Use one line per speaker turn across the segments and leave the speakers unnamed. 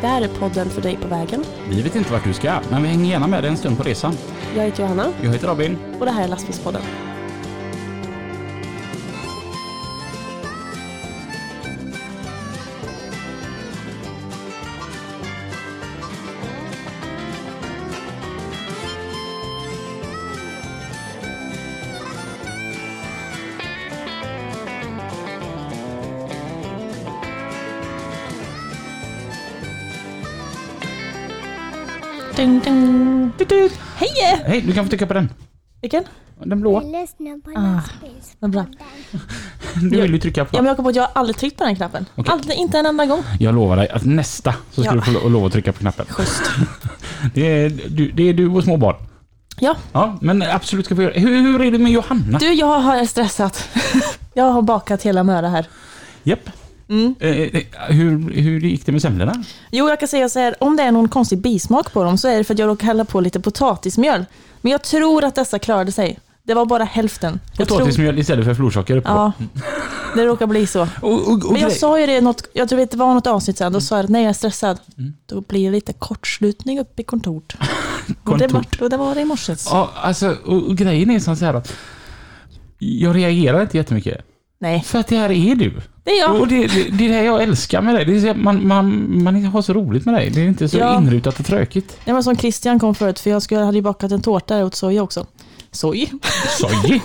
Där är podden för dig på vägen.
Vi vet inte vart du ska, men vi hänger gärna med dig en stund på resan.
Jag heter Johanna
Jag heter Robin.
och det här är Lastbilspodden. Dun, dun, dun, dun. Hej!
Hej, du kan få trycka på den.
Vilken?
Den blåa.
Lyssna på
Ah, vad bra.
lastbilspodden.
Du vill ju trycka
Ja,
på
men
den.
jag kom på att jag har aldrig tryckt på den knappen.
Okej.
Aldrig, inte en enda gång.
Jag lovar dig att nästa så ska
Ja.
du få lo- lov att trycka på knappen.
Schysst.
Det är du, det är du och små barn.
Ja,
Ja, men absolut ska vi göra det. Hur, hur är det med Johanna?
du jag har stressat. Jag har bakat hela möra här.
Japp.
Mm.
Eh, eh, hur, hur gick det med semlorna?
Jo, jag kan säga så här, om det är någon konstig bismak på dem så är det för att jag råkade hälla på lite potatismjöl. Men jag tror att dessa klarade sig. Det var bara hälften. Jag tror-
Potatismjöl istället för florsocker på.
Ja, det råkar bli så.
Och, och, och
Men jag
grej-
sa ju det i något, jag tror att det var något avsnitt
Mm.
sen, då sa jag att nej jag är stressad. Då blir det lite kortslutning uppe i kontort. Och det, var,
Kontort.
och det var det i morse.
Ja, alltså, och, och grejen är som så här att jag reagerar inte jättemycket.
Nej,
För att det här är du.
det är jag.
Och det, det, det är det jag älskar med dig. Det är så, man, man, man har så roligt med dig. Det är inte så
Ja.
inrutat och tråkigt.
Det var som Christian kom förut, för jag skulle, hade ju bakat en tårta åt Soja också. Soj?
Soj!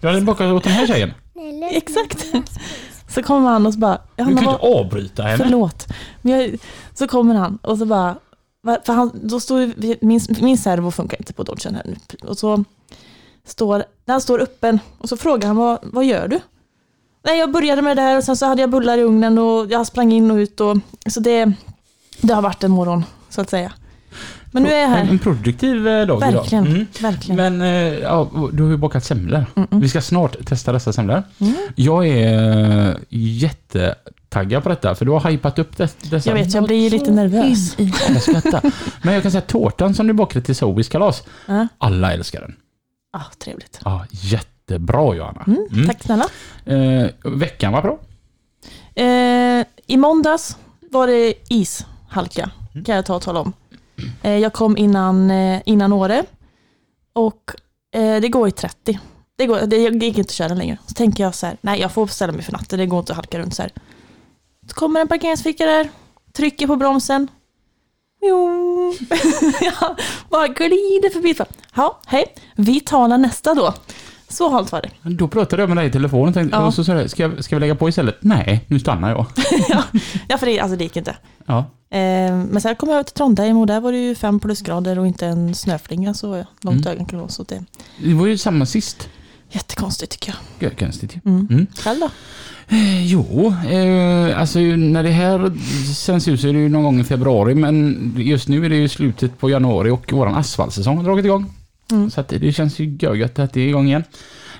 Du hade bakat åt den här tjejen.
Nej, lyssna
Exakt.
på lastbilspodden.
Så kommer han och så bara,
Du
Johanna,
kan ju
vad,
inte avbryta henne.
förlåt. Men jag, så kommer han och så bara, va- för han, då står ju- vi- min, min servo funkar inte på Dodgen här nu. Och så står, den står öppen och så frågar han, vad, vad gör du? Nej, jag började med det här och sen så hade jag bullar i ugnen och jag sprang in och ut och så det, det har varit en morgon så att säga. Men nu är jag
En,
här.
en produktiv eh, dag
Verkligen,
idag. Mm.
verkligen.
Men eh, ja, och du har ju bakat semlor.
Mm-mm.
Vi ska snart testa dessa semlor.
Mm.
Jag är eh, jättetaggad på detta, för du har hypat upp des- dessa. Mm.
Jag vet, jag blir ju lite nervös.
Jag skrattar. Men jag kan säga att tårtan som du bakade till Zoes kalas,
Ja,
alla älskar den.
ah, trevligt.
Ja, jättebra Johanna.
Mm,
Mm.
Tack snälla.
Eh, veckan var bra.
Eh, I måndags var det ishalka, kan jag ta och tala om. Eh, jag kom innan, eh, innan Åre och eh, det går i 30. Det, går, det jag gick inte att köra längre. Så tänker jag så här, nej jag får ställa mig för natten, det går inte att halka runt så här. Så kommer en parkeringsficka där, trycker på bromsen. Jo. ja, bara glider förbi. Ja, hej, vi talar nästa då. Så halt var det.
Men Då pratade jag med dig i telefonen och, tänkte,
Ja.
och så sa jag, ska, jag- ska vi lägga på istället? Nej, nu stannar jag.
Ja, för det, alltså, det gick inte.
Ja.
Eh, men sen kom jag över till Trondheim och där var det ju fem plusgrader och inte en snöflinga så långt ögat kunde nå. Så det är
Det var ju samma sist.
jättekonstigt tycker jag.
Gud, Konstigt ju.
Mm.
Mm.
Själv då?
Eh, Jo, eh, alltså ju när det här sänds ut så är det ju någon gång i februari men just nu är det ju slutet på januari och våran asfaltsäsong har dragit igång.
Mm.
Så att det känns ju görgött att det är igång igen.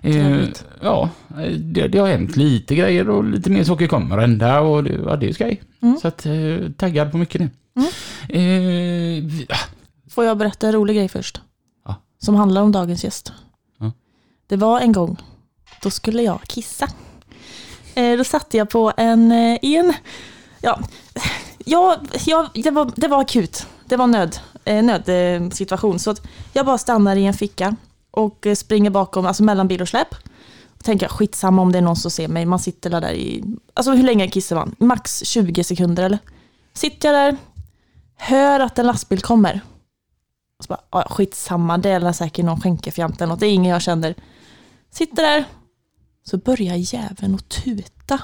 Eh,
Trevligt.
ja, eh, det, det har hänt lite grejer och lite mer saker kommer att hända och det, ja, det är skoj.
Mm.
Så att, eh, taggad på mycket nu. Eh, vi- ah,
Får jag berätta en rolig grej först?
Ja.
Som handlar om dagens gäst.
Ja.
Det var en gång, då skulle jag kissa. Eh, då satt jag på en, eh, i en, ja, ja, ja det, var, det var akut. Det var nöd, eh, nödsituation. Eh, situation. så att jag bara stannar i en ficka och eh, springer bakom, alltså mellan bil och släp. Och tänker jag, skitsamma om det är någon som ser mig, man sitter där i, alltså hur länge kissar man? Max 20 sekunder eller? Sitter jag där, hör att en lastbil kommer. Och så bara, ja, skitsamma, det är säkert någon skänkefjant eller något. Det är ingen jag känner. Sitter där, så börjar jäveln att tuta.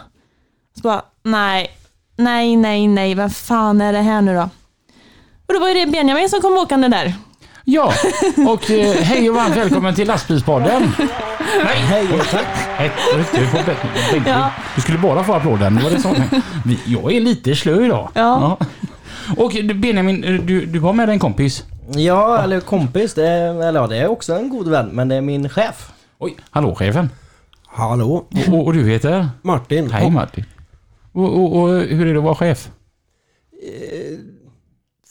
Så bara, nej, nej, nej, nej, vem fan är det här nu då? Och då var ju det Benjamin som kom åkande där.
ja, och eh, hej och varmt välkommen till lastbilspodden. Nej, hej och tack. Du, får bättre- bättre.
Ja.
du skulle bara få applåden. Det var det som. Vi- Jag är lite slö idag.
Ja.
Ja. Och Benjamin, du, du har med dig en kompis.
Ja, eller kompis. Det är, eller ja, det är också en god vän, men det är min chef.
Oj, hallå chefen.
Hallå,
Och- Och, och du heter?
Martin.
Hej Martin. Och, och, och hur är det att vara chef?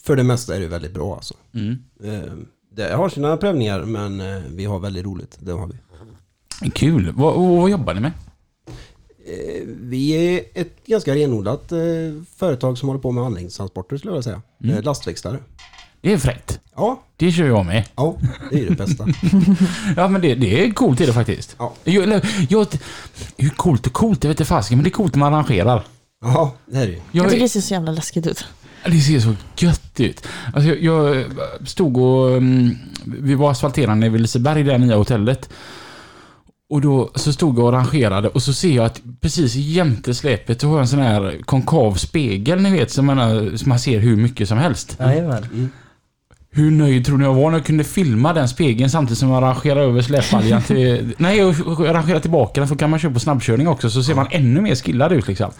För det mesta är det väldigt bra alltså.
Mm.
Eh, Det har sina prövningar men eh, vi har väldigt roligt, det har vi.
Kul. Vad, och vad jobbar ni med?
Eh, Vi är ett ganska renodlat eh, företag som håller på med anläggningstransporter skulle jag vilja säga.
Mm.
Eh, Lastväxlare.
Det är fräckt.
Ja,
Det kör jag med.
ja, det är ju det bästa.
Ja men det, det är coolt är det faktiskt.
Ja.
Jag, eller, jag, hur coolt och coolt, det vet jag fasiken, men det är coolt när man arrangerar.
Ja, det är det ju.
Jag
är-
tycker det ser så jävla läskigt ut.
Det ser så gött ut. Alltså jag, jag stod och... mm, Vi var asfalterande vid Liseberg, det här nya hotellet. Och då så stod jag och rangerade och så ser jag att precis jämte släpet så har jag en sån här konkav spegel ni vet som man, har- som man ser hur mycket som helst.
Jajamän.
Hur nöjd tror ni jag var när jag kunde filma den spegeln samtidigt som jag rangerade över släpbaljan till... Nej, jag rangerade tillbaka den för kan man köra på snabbkörning också så ser man ännu mer skillad ut liksom.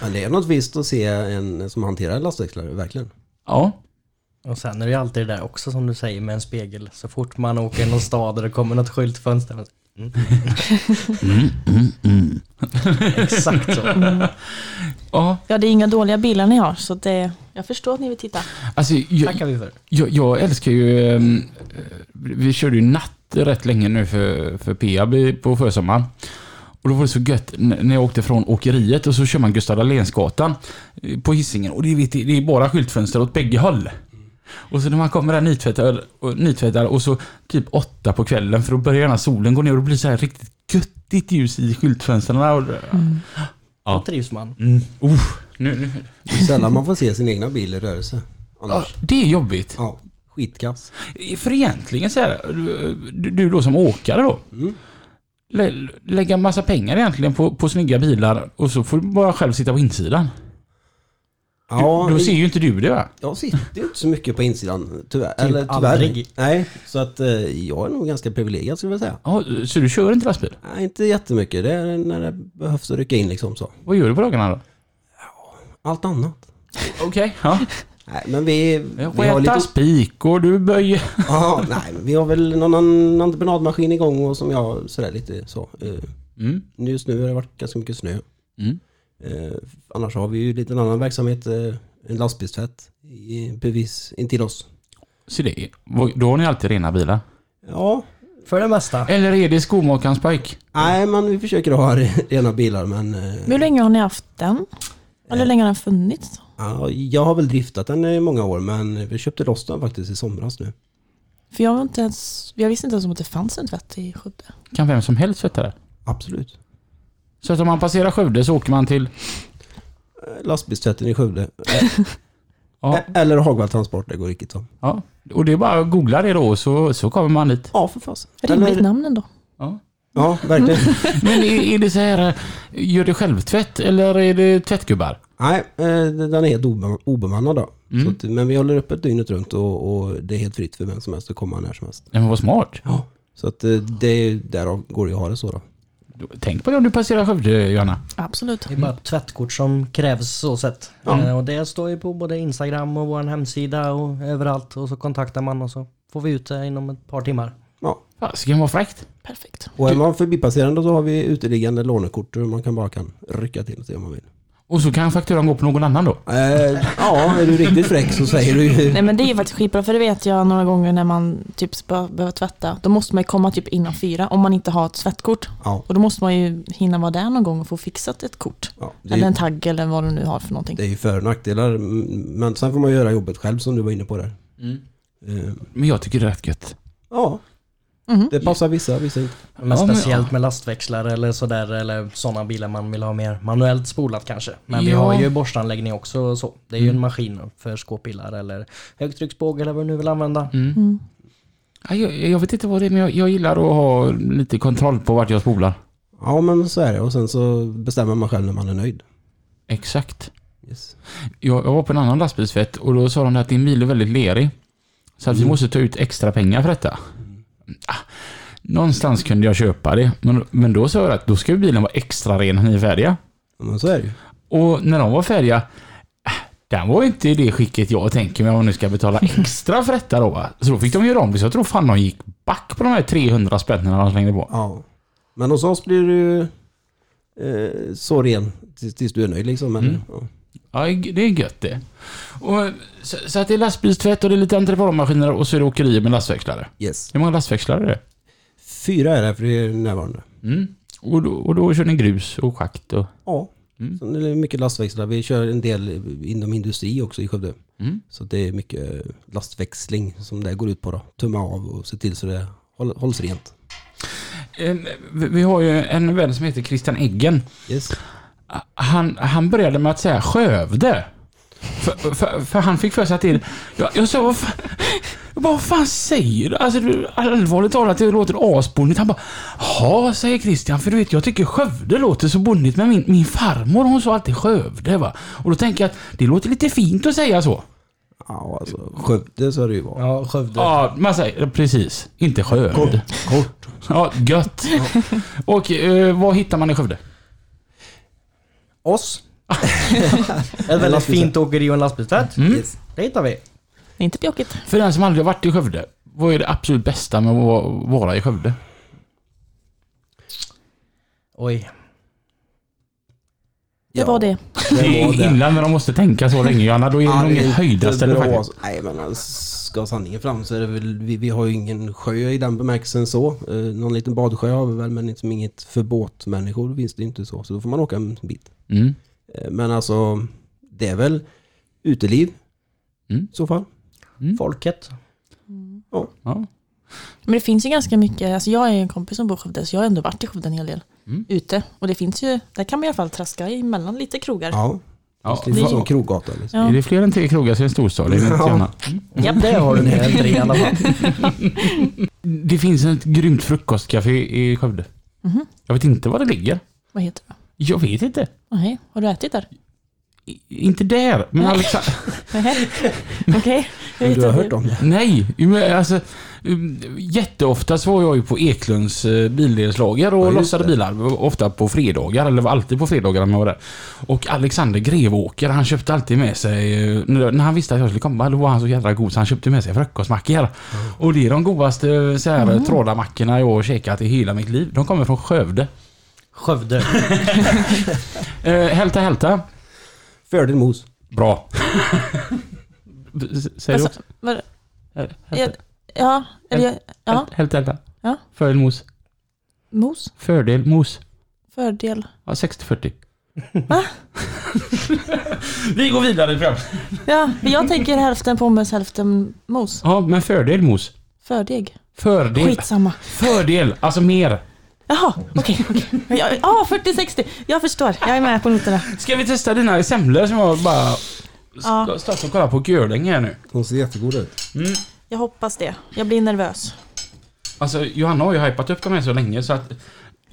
Men det är något visst att se en som hanterar lastväxlare, verkligen.
Ja.
Och sen är det ju alltid det där också som du säger med en spegel. Så fort man åker i någon stad och det kommer något skyltfönster. man säger, Mm. Exakt så.
Ja.
Ja, det är inga dåliga bilar ni har, så det, jag förstår att ni vill titta.
Alltså, jag,
tackar vi för.
Jag, jag älskar ju... ehm, eh, Vi körde ju natt rätt länge nu för, för Peab i- på försommaren. Och då var det så gött n- när jag åkte från åkeriet och så kör man Gustav Dahlénsgatan eh, på hissingen och det är, vet du, det är bara skyltfönster åt bägge håll. Och så när man kommer där nytvättad och, nytvättad och så typ åtta på kvällen för då börjar gärna solen gå ner och det blir så här riktigt göttigt ljus i skyltfönstren. Och, Ja.
Då trivs man.
mm. oh, nu, nu.
Det är Sällan man får se sin egna bil i rörelse.
Ja,
Annars.
det är jobbigt.
Ja, skitkass.
För egentligen så här, du, du då som åkare då.
Mm.
Lä, lägga massa pengar egentligen på, på snygga bilar och så får du bara själv sitta på insidan. Du,
Ja,
då ser ju inte du det va?
jag sitter ju inte så mycket på insidan tyvärr.
Typ
Eller tyvärr.
aldrig.
Nej, så att eh, jag är nog ganska privilegierad skulle jag vilja säga.
Ja, så du kör inte lastbil?
Nej, inte jättemycket. Det är när det behövs att rycka in liksom så.
Vad gör du på dagarna då?
Allt annat.
Okej. Ja.
Nej, men vi...
Jag
vi har
skötar
lite...
spikor, du böjer.
Ja, nej, men vi har väl någon annan entreprenadmaskin igång och som jag sådär lite så. eh,
Mm.
Just nu har det varit ganska mycket snö.
Mm.
Eh, annars har vi ju lite en annan verksamhet, eh, en lastbilstvätt i, precis intill oss.
Så det, vad- då har ni alltid rena bilar.
Ja,
För det mesta.
Eller är det skomakarens spike?
nej men vi försöker ha re- rena bilar men eh,
Hur länge har ni haft den? Eller hur länge har den funnits?
ja, jag har väl driftat den i många år men vi köpte loss den faktiskt i somras nu.
För jag, var inte ens, jag visste inte ens om att det fanns en tvätt i Skövde.
Kan vem som helst tvätta det?
Absolut.
Så att om man passerar Skövde så åker man till...
Eh, Lastbilstvätten i Skövde. Eh,
Ja,
e- Eller Hagwall Transport, det går riktigt så.
ja. Och det är bara att googla det då så, så kommer man dit.
Ja, för fasen.
Rimligt
Eller-
namn ändå.
Ja.
Ja, verkligen.
Men är, är det så här, eh, gör du självtvätt eller är det tvättgubbar?
Nej, eh, den är helt obe- obemannad då. Så att, men vi håller öppet dygnet runt och, och det är helt fritt för vem som helst att komma när som helst.
Nej men vad smart.
Ja. Så att eh, det är därav går det att ha det så då.
Tänk på det om du passerar Skövde, Johanna.
Absolut.
Det är bara ett tvättkort som krävs så sett. Eh, Och det står ju på både Instagram och vår hemsida och överallt. Och så kontaktar man och så får vi ut det inom ett par timmar.
Ja.
Fasiken vad fräckt.
Perfekt.
Och är man förbipasserande så har vi uteliggande lånekort som man kan bara kan rycka till sig om man vill.
Och så kan fakturan gå på någon annan då.
Eh, ja, är du riktigt fräck så säger du ju...
Nej men det är ju faktiskt skitbra för det vet jag några gånger när man typ ska behöva tvätta. Då måste man ju komma typ innan fyra om man inte har ett tvättkort.
Ja,
Och då måste man ju hinna vara där någon gång och få fixat ett kort.
ja det,
Eller en
är,
tagg eller vad du nu har för någonting.
det är ju för och nackdelar. mm, Men sen får man göra jobbet själv som du var inne på där. Eh,
Men jag tycker det är rätt gött.
ja,
Mhm.
det passar vissa, vissa inte.
Men
Ja, men-
speciellt med lastväxlare eller sådär eller sådana bilar man vill ha mer manuellt spolat kanske. Men vi
Ja. Mm.
har ju borstanläggning också och så. Det är ju en maskin för skåpbilar eller högtrycksbåge eller vad du nu vill använda.
Ja, Jag, jag vet inte vad det är men jag, jag gillar att ha lite kontroll på vart jag spolar.
Ja, men så är det. Och sen så bestämmer man själv när man är nöjd.
Exakt.
Yes.
Jag, jag var på en annan lastbilsfett och då sa de att din bil är väldigt lerig. Så att vi måste ta ut extra pengar för detta. Ah, någonstans kunde jag köpa det. Men, men då sa jag att då ska ju bilen vara extra ren när ni är färdiga.
Ja, Men så är det ju.
Och när de var färdiga, äh, den var ju inte i det skicket jag tänker mig om jag nu ska betala extra för detta då. va. Så då fick de göra om det, så jag tror fan de gick back på de här 300 spännen de slängde på.
Ja. Men hos oss blir du eh, så ren tills, tills du är nöjd liksom. Men, ja.
Ja, det är gött det. Och, så, så att det är lastbilstvätt och det är lite entreprenadmaskiner och så är det åkerier med lastväxlare.
Yes.
Hur många lastväxlare är det?
Fyra är det för det är närvarande.
Mm. Och då, och då kör ni grus och schakt och...
Ja.
Mm.
Så det är mycket lastväxlar. Vi kör en del inom industri också i Skövde.
Mm.
Så det är mycket lastväxling som det går ut på. Då. Tumma av och se till så det håll- hålls rent.
Eh, Vi vi har ju en vän som heter Christian Eggen.
Yes.
Han, han började med att säga Skövde. För, för, för han fick för sig att det... Jag, jag sa, vad fan, jag bara, vad fan säger du? Alltså, du allvarligt talat, det låter asbonnigt. Han bara, ja, säger Christian, för du vet, jag tycker Skövde låter så bonnigt, men min, min farmor hon sa alltid Skövde va. Och då tänker jag att det låter lite fint att säga så.
Ja, alltså Skövde så är det ju bara.
Ja, Skövde.
Ja, man säger precis. Inte Skövde. Kort. Ja, gött. Och eh, vad hittar man i Skövde?
Oss. Ett väldigt
lastbilstvätt.
fint åkeri och en lastbilstvätt.
Mm.
Yes.
Det hittar vi.
Det är inte bjåkigt.
För den som aldrig har varit i Skövde, vad är det absolut bästa med att vara- vara i Skövde?
Oj.
Det var det.
Det är illa när de måste tänka så länge Johanna, då är det nog inget höjdarställe faktiskt.
Nej men alltså, ska sanningen fram så är det väl, vi, vi har ju ingen sjö i den bemärkelsen så. Eh, någon liten badsjö har vi väl men liksom inget för båtmänniskor finns det ju inte så. Så då får man åka en bit.
Mm.
Eh, men alltså det är väl uteliv
Mm.
i så fall.
Folket.
Ja.
Men det finns ju ganska mycket, alltså jag är ju en kompis som bor i Skövde så jag har ändå varit i Skövde en hel del.
Mm.
Ute. Och det finns ju, där kan man i alla fall traska emellan lite krogar.
Ja,
Ja.
det är en
fan.
sån kroggata. Liksom.
Är det fler än tre krogar så är det en storstad. Det, är inte gärna.
Japp.
Mm, Det har du mer än tre i alla fall.
det finns ett grymt frukostcafé i Skövde. Jag vet inte var det ligger.
Mhm. Vad heter det?
Jag vet inte.
Nej, har du ätit där?
I, inte där, men
Nej.
Alexander...
Nej. Okej. Jag
Men
vet
du har
inte.
hört om det?
Nej, men alltså um, jätteofta så var jag ju på Eklunds eh, bildelslager och
Ja, just
lossade
det.
bilar. Ofta på fredagar, eller var alltid på fredagar när jag var där. Och Alexander Grevåker, han köpte alltid med sig, eh, när när han visste att jag skulle komma, då var han så jävla god så han köpte med sig frukostmackor. Och det är de godaste eh, så här,
Mm.
trådarmackorna jag har käkat i hela mitt liv. De kommer från Skövde.
Skövde.
Eh, hälta hälta.
Fördel mos.
Bra. S- Säger du
Alltså,
också?
vad-
Häl-
jag- Ja, eller jag, ja.
häl- Hälta hälta.
Ja.
Fördel mos.
Mos?
Fördel mos.
Fördel?
Ja, 60-40.
Va?
Vi går vidare fram.
Ja, men jag tänker hälften pommes, hälften mos.
Ja, men fördel mos.
Fördeg?
Fördel.
Skitsamma.
Fördel, alltså mer.
Jaha, okej. okej. Ja, ja, 40-60. Jag förstår. Jag är med på noterna.
Ska vi testa dina semlor som jag bara
Ja,
ja. stått och kollat på Görlänge här nu?
De ser jättegoda ut.
jag hoppas det. Jag blir nervös.
Alltså Johanna har ju hypat upp dem här så länge så att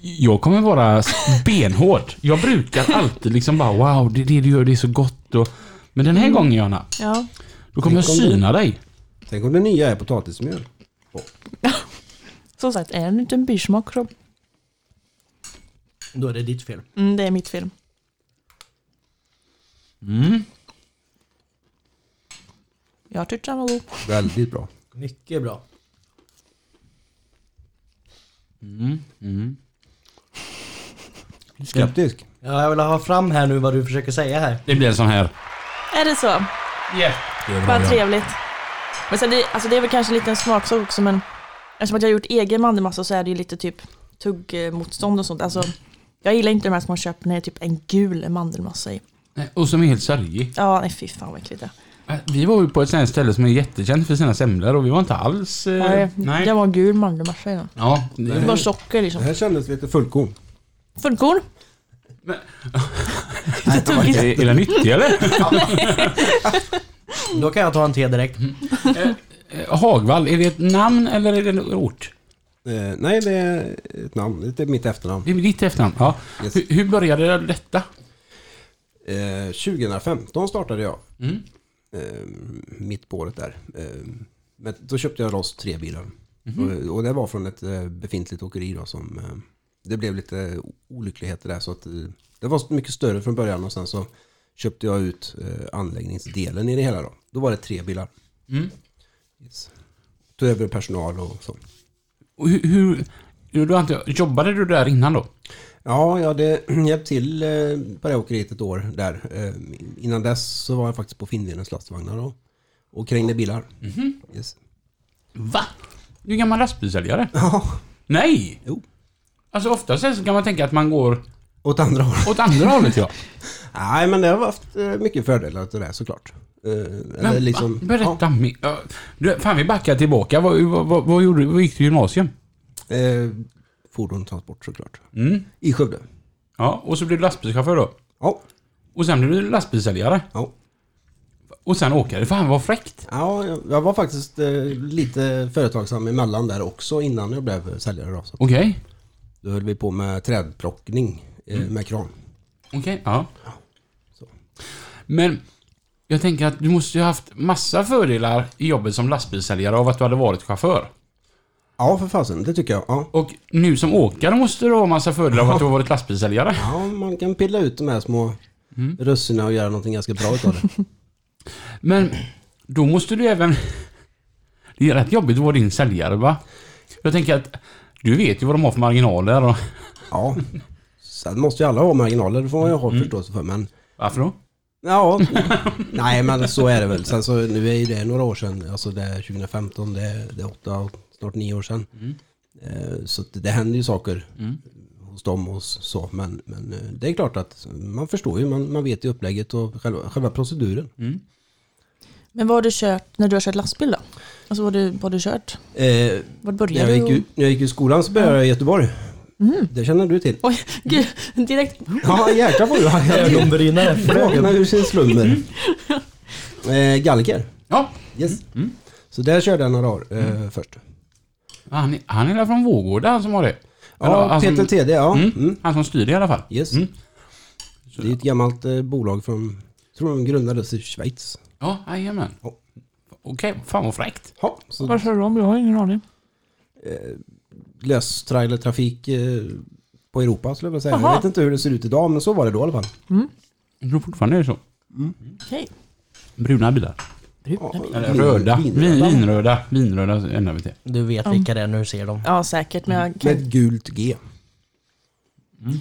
jag kommer vara s- benhård. Jag brukar alltid liksom bara wow, det, det du gör det är så gott och... Men den här gången Johanna,
Ja.
då kommer jag
Tänk om du-
syna dig.
Tänk om det nya är potatismjöl.
Som sagt, är det en liten bysmak så...
Då är det ditt fel.
Mm, det är mitt film.
Mm.
Jag tyckte den var god.
Väldigt bra.
Mycket bra.
Mm. Mm.
Skeptisk.
Ja, jag vill ha fram här nu vad du försöker säga här.
Det blir en sån här.
Är det så? Vad trevligt. Men sen det, alltså det är väl kanske lite en smaksak också men eftersom att jag har gjort egen mandelmassa så är det ju lite typ tuggmotstånd och sånt. Alltså, jag gillar inte de här som man köper när det är typ en gul mandelmassa i.
Och som är helt sörjig.
Ja, nej fy fan vad äckligt det är.
Äh, Vi var ju på ett sånt här ställe som är jättekänt för sina semlor och vi var inte alls... eh,
Nej,
nej.
Det var en gul mandelmassa i den.
Ja, det-
Det var socker liksom.
Det här kändes lite fullkorn.
Fullkorn?
Men-
Lite tuggigt.
är, är den nyttig eller?
Då kan jag ta en te direkt.
Mm. Eh, Hagvall, är det ett namn eller är det en ort?
Eh, nej, det är ett namn. Det är mitt efternamn.
Det är ditt efternamn. Ja.
Yes.
Hur, hur började detta?
Eh, 2015 startade jag.
Mm.
Eh, mitt på året där. Eh, men då köpte jag loss tre bilar.
Mhm.
Och, och det var från ett eh, befintligt åkeri då som... Eh, det blev lite olyckligheter där så att... Eh, det var mycket större från början och sen så köpte jag ut eh, anläggningsdelen i det hela då. Då var det tre bilar.
Mm.
Yes. Tog över personal och så.
Och hur, hur, du, har inte- jobbade du där innan då?
Ja, jag hade hjälpt till eh, på det åkeriet ett år där. Eh, Innan dess så var jag faktiskt på Finnvedens lastvagnar och, och krängde bilar.
Mhm.
Yes.
Va? Du är gammal lastbilsäljare?
Ja,
Nej!
Jo.
Alltså oftast så kan man tänka att man går
Åt andra hållet.
åt andra hållet ja.
Nej, men det har haft eh, mycket fördelar utav det här, såklart. Eh, eller
Men,
liksom,
va? berätta mer. Ja, Du, fan vi backar tillbaka. Vad, vad, vad, vad gjorde du? Vad gick du i gymnasium?
Ja, eh, fordonstransport såklart.
Mm.
I Skövde.
Ja, och så blev du lastbilschaufför då.
Ja.
Och sen blev du lastbilsäljare.
Ja.
Och sen åkare. Fan vad fräckt.
ja, jag- jag var faktiskt eh, lite företagsam emellan där också innan jag blev säljare. Då, så.
Okej.
då höll vi på med trädplockning eh,
Mm.
med kran.
Okej, ja.
Så.
Men jag tänker att du måste ju ha haft massa fördelar i jobbet som lastbilsäljare av att du hade varit chaufför.
Ja, för fasen, det tycker jag. Ja.
Och nu som åkare måste du ha massa fördelar av att du har varit lastbilsäljare.
ja, man kan pilla ut de här små russinen och göra någonting ganska bra utav det.
Men då måste du även... Det är rätt jobbigt att vara din säljare va? Jag tänker att du vet ju vad de har för marginaler och...
ja. Sen måste ju alla ha marginaler, det får man ju ha förståelse för. Men
Varför då?
Ja, nej men så är det väl. Sen så, nu är ju det några år sedan, alltså det är 2015, det är, det är åtta, snart nio år sedan. Eh, Så att det händer ju saker hos dem och så, men, men eh, det är klart att man förstår ju, man, man vet ju upplägget och själva, själva proceduren.
Men vad har du kört när du har kört lastbil då? Alltså vad har du, vad har du kört?
Eh,
Var
när,
började
jag
du?
gick,
och-
ju- när jag gick i skolan så började jag i Göteborg. Det känner du till.
Oj, gud, direkt.
Ja, jäklar vad du har
Ögonbrynen
Vakna ur sin slummer.
Mm.
Eh, Galliker,
Ja,
yes.
Mm.
Så där körde jag några år eh, först.
han är, han är där från Vårgårda han som har det.
Ja,
han som-
Peter TD, ja.
Mm,
Mm.
Han som styr det i alla fall.
Yes.
Mm.
Det är ett gammalt eh, bolag från, tror de grundades i Schweiz.
Ja, jajamän.
Ja.
Okej, fan vad fräckt.
Ja, så
Vad kör du om? Jag har ingen aning.
lös trailertrafik eh, på Europa skulle jag vilja säga.
Jaha.
Jag vet inte hur det ser ut idag men så var det då i alla fall.
Jag tror fortfarande det är så.
Okej.
Bruna bilar.
Ja,
Eller
vin-
röda.
vin-
Vin, vinröda. Vinröda ändrar vi till.
Du vet vilka det är när du ser dem.
Ja, säkert. Men jag,
Med
kan,
ett gult G.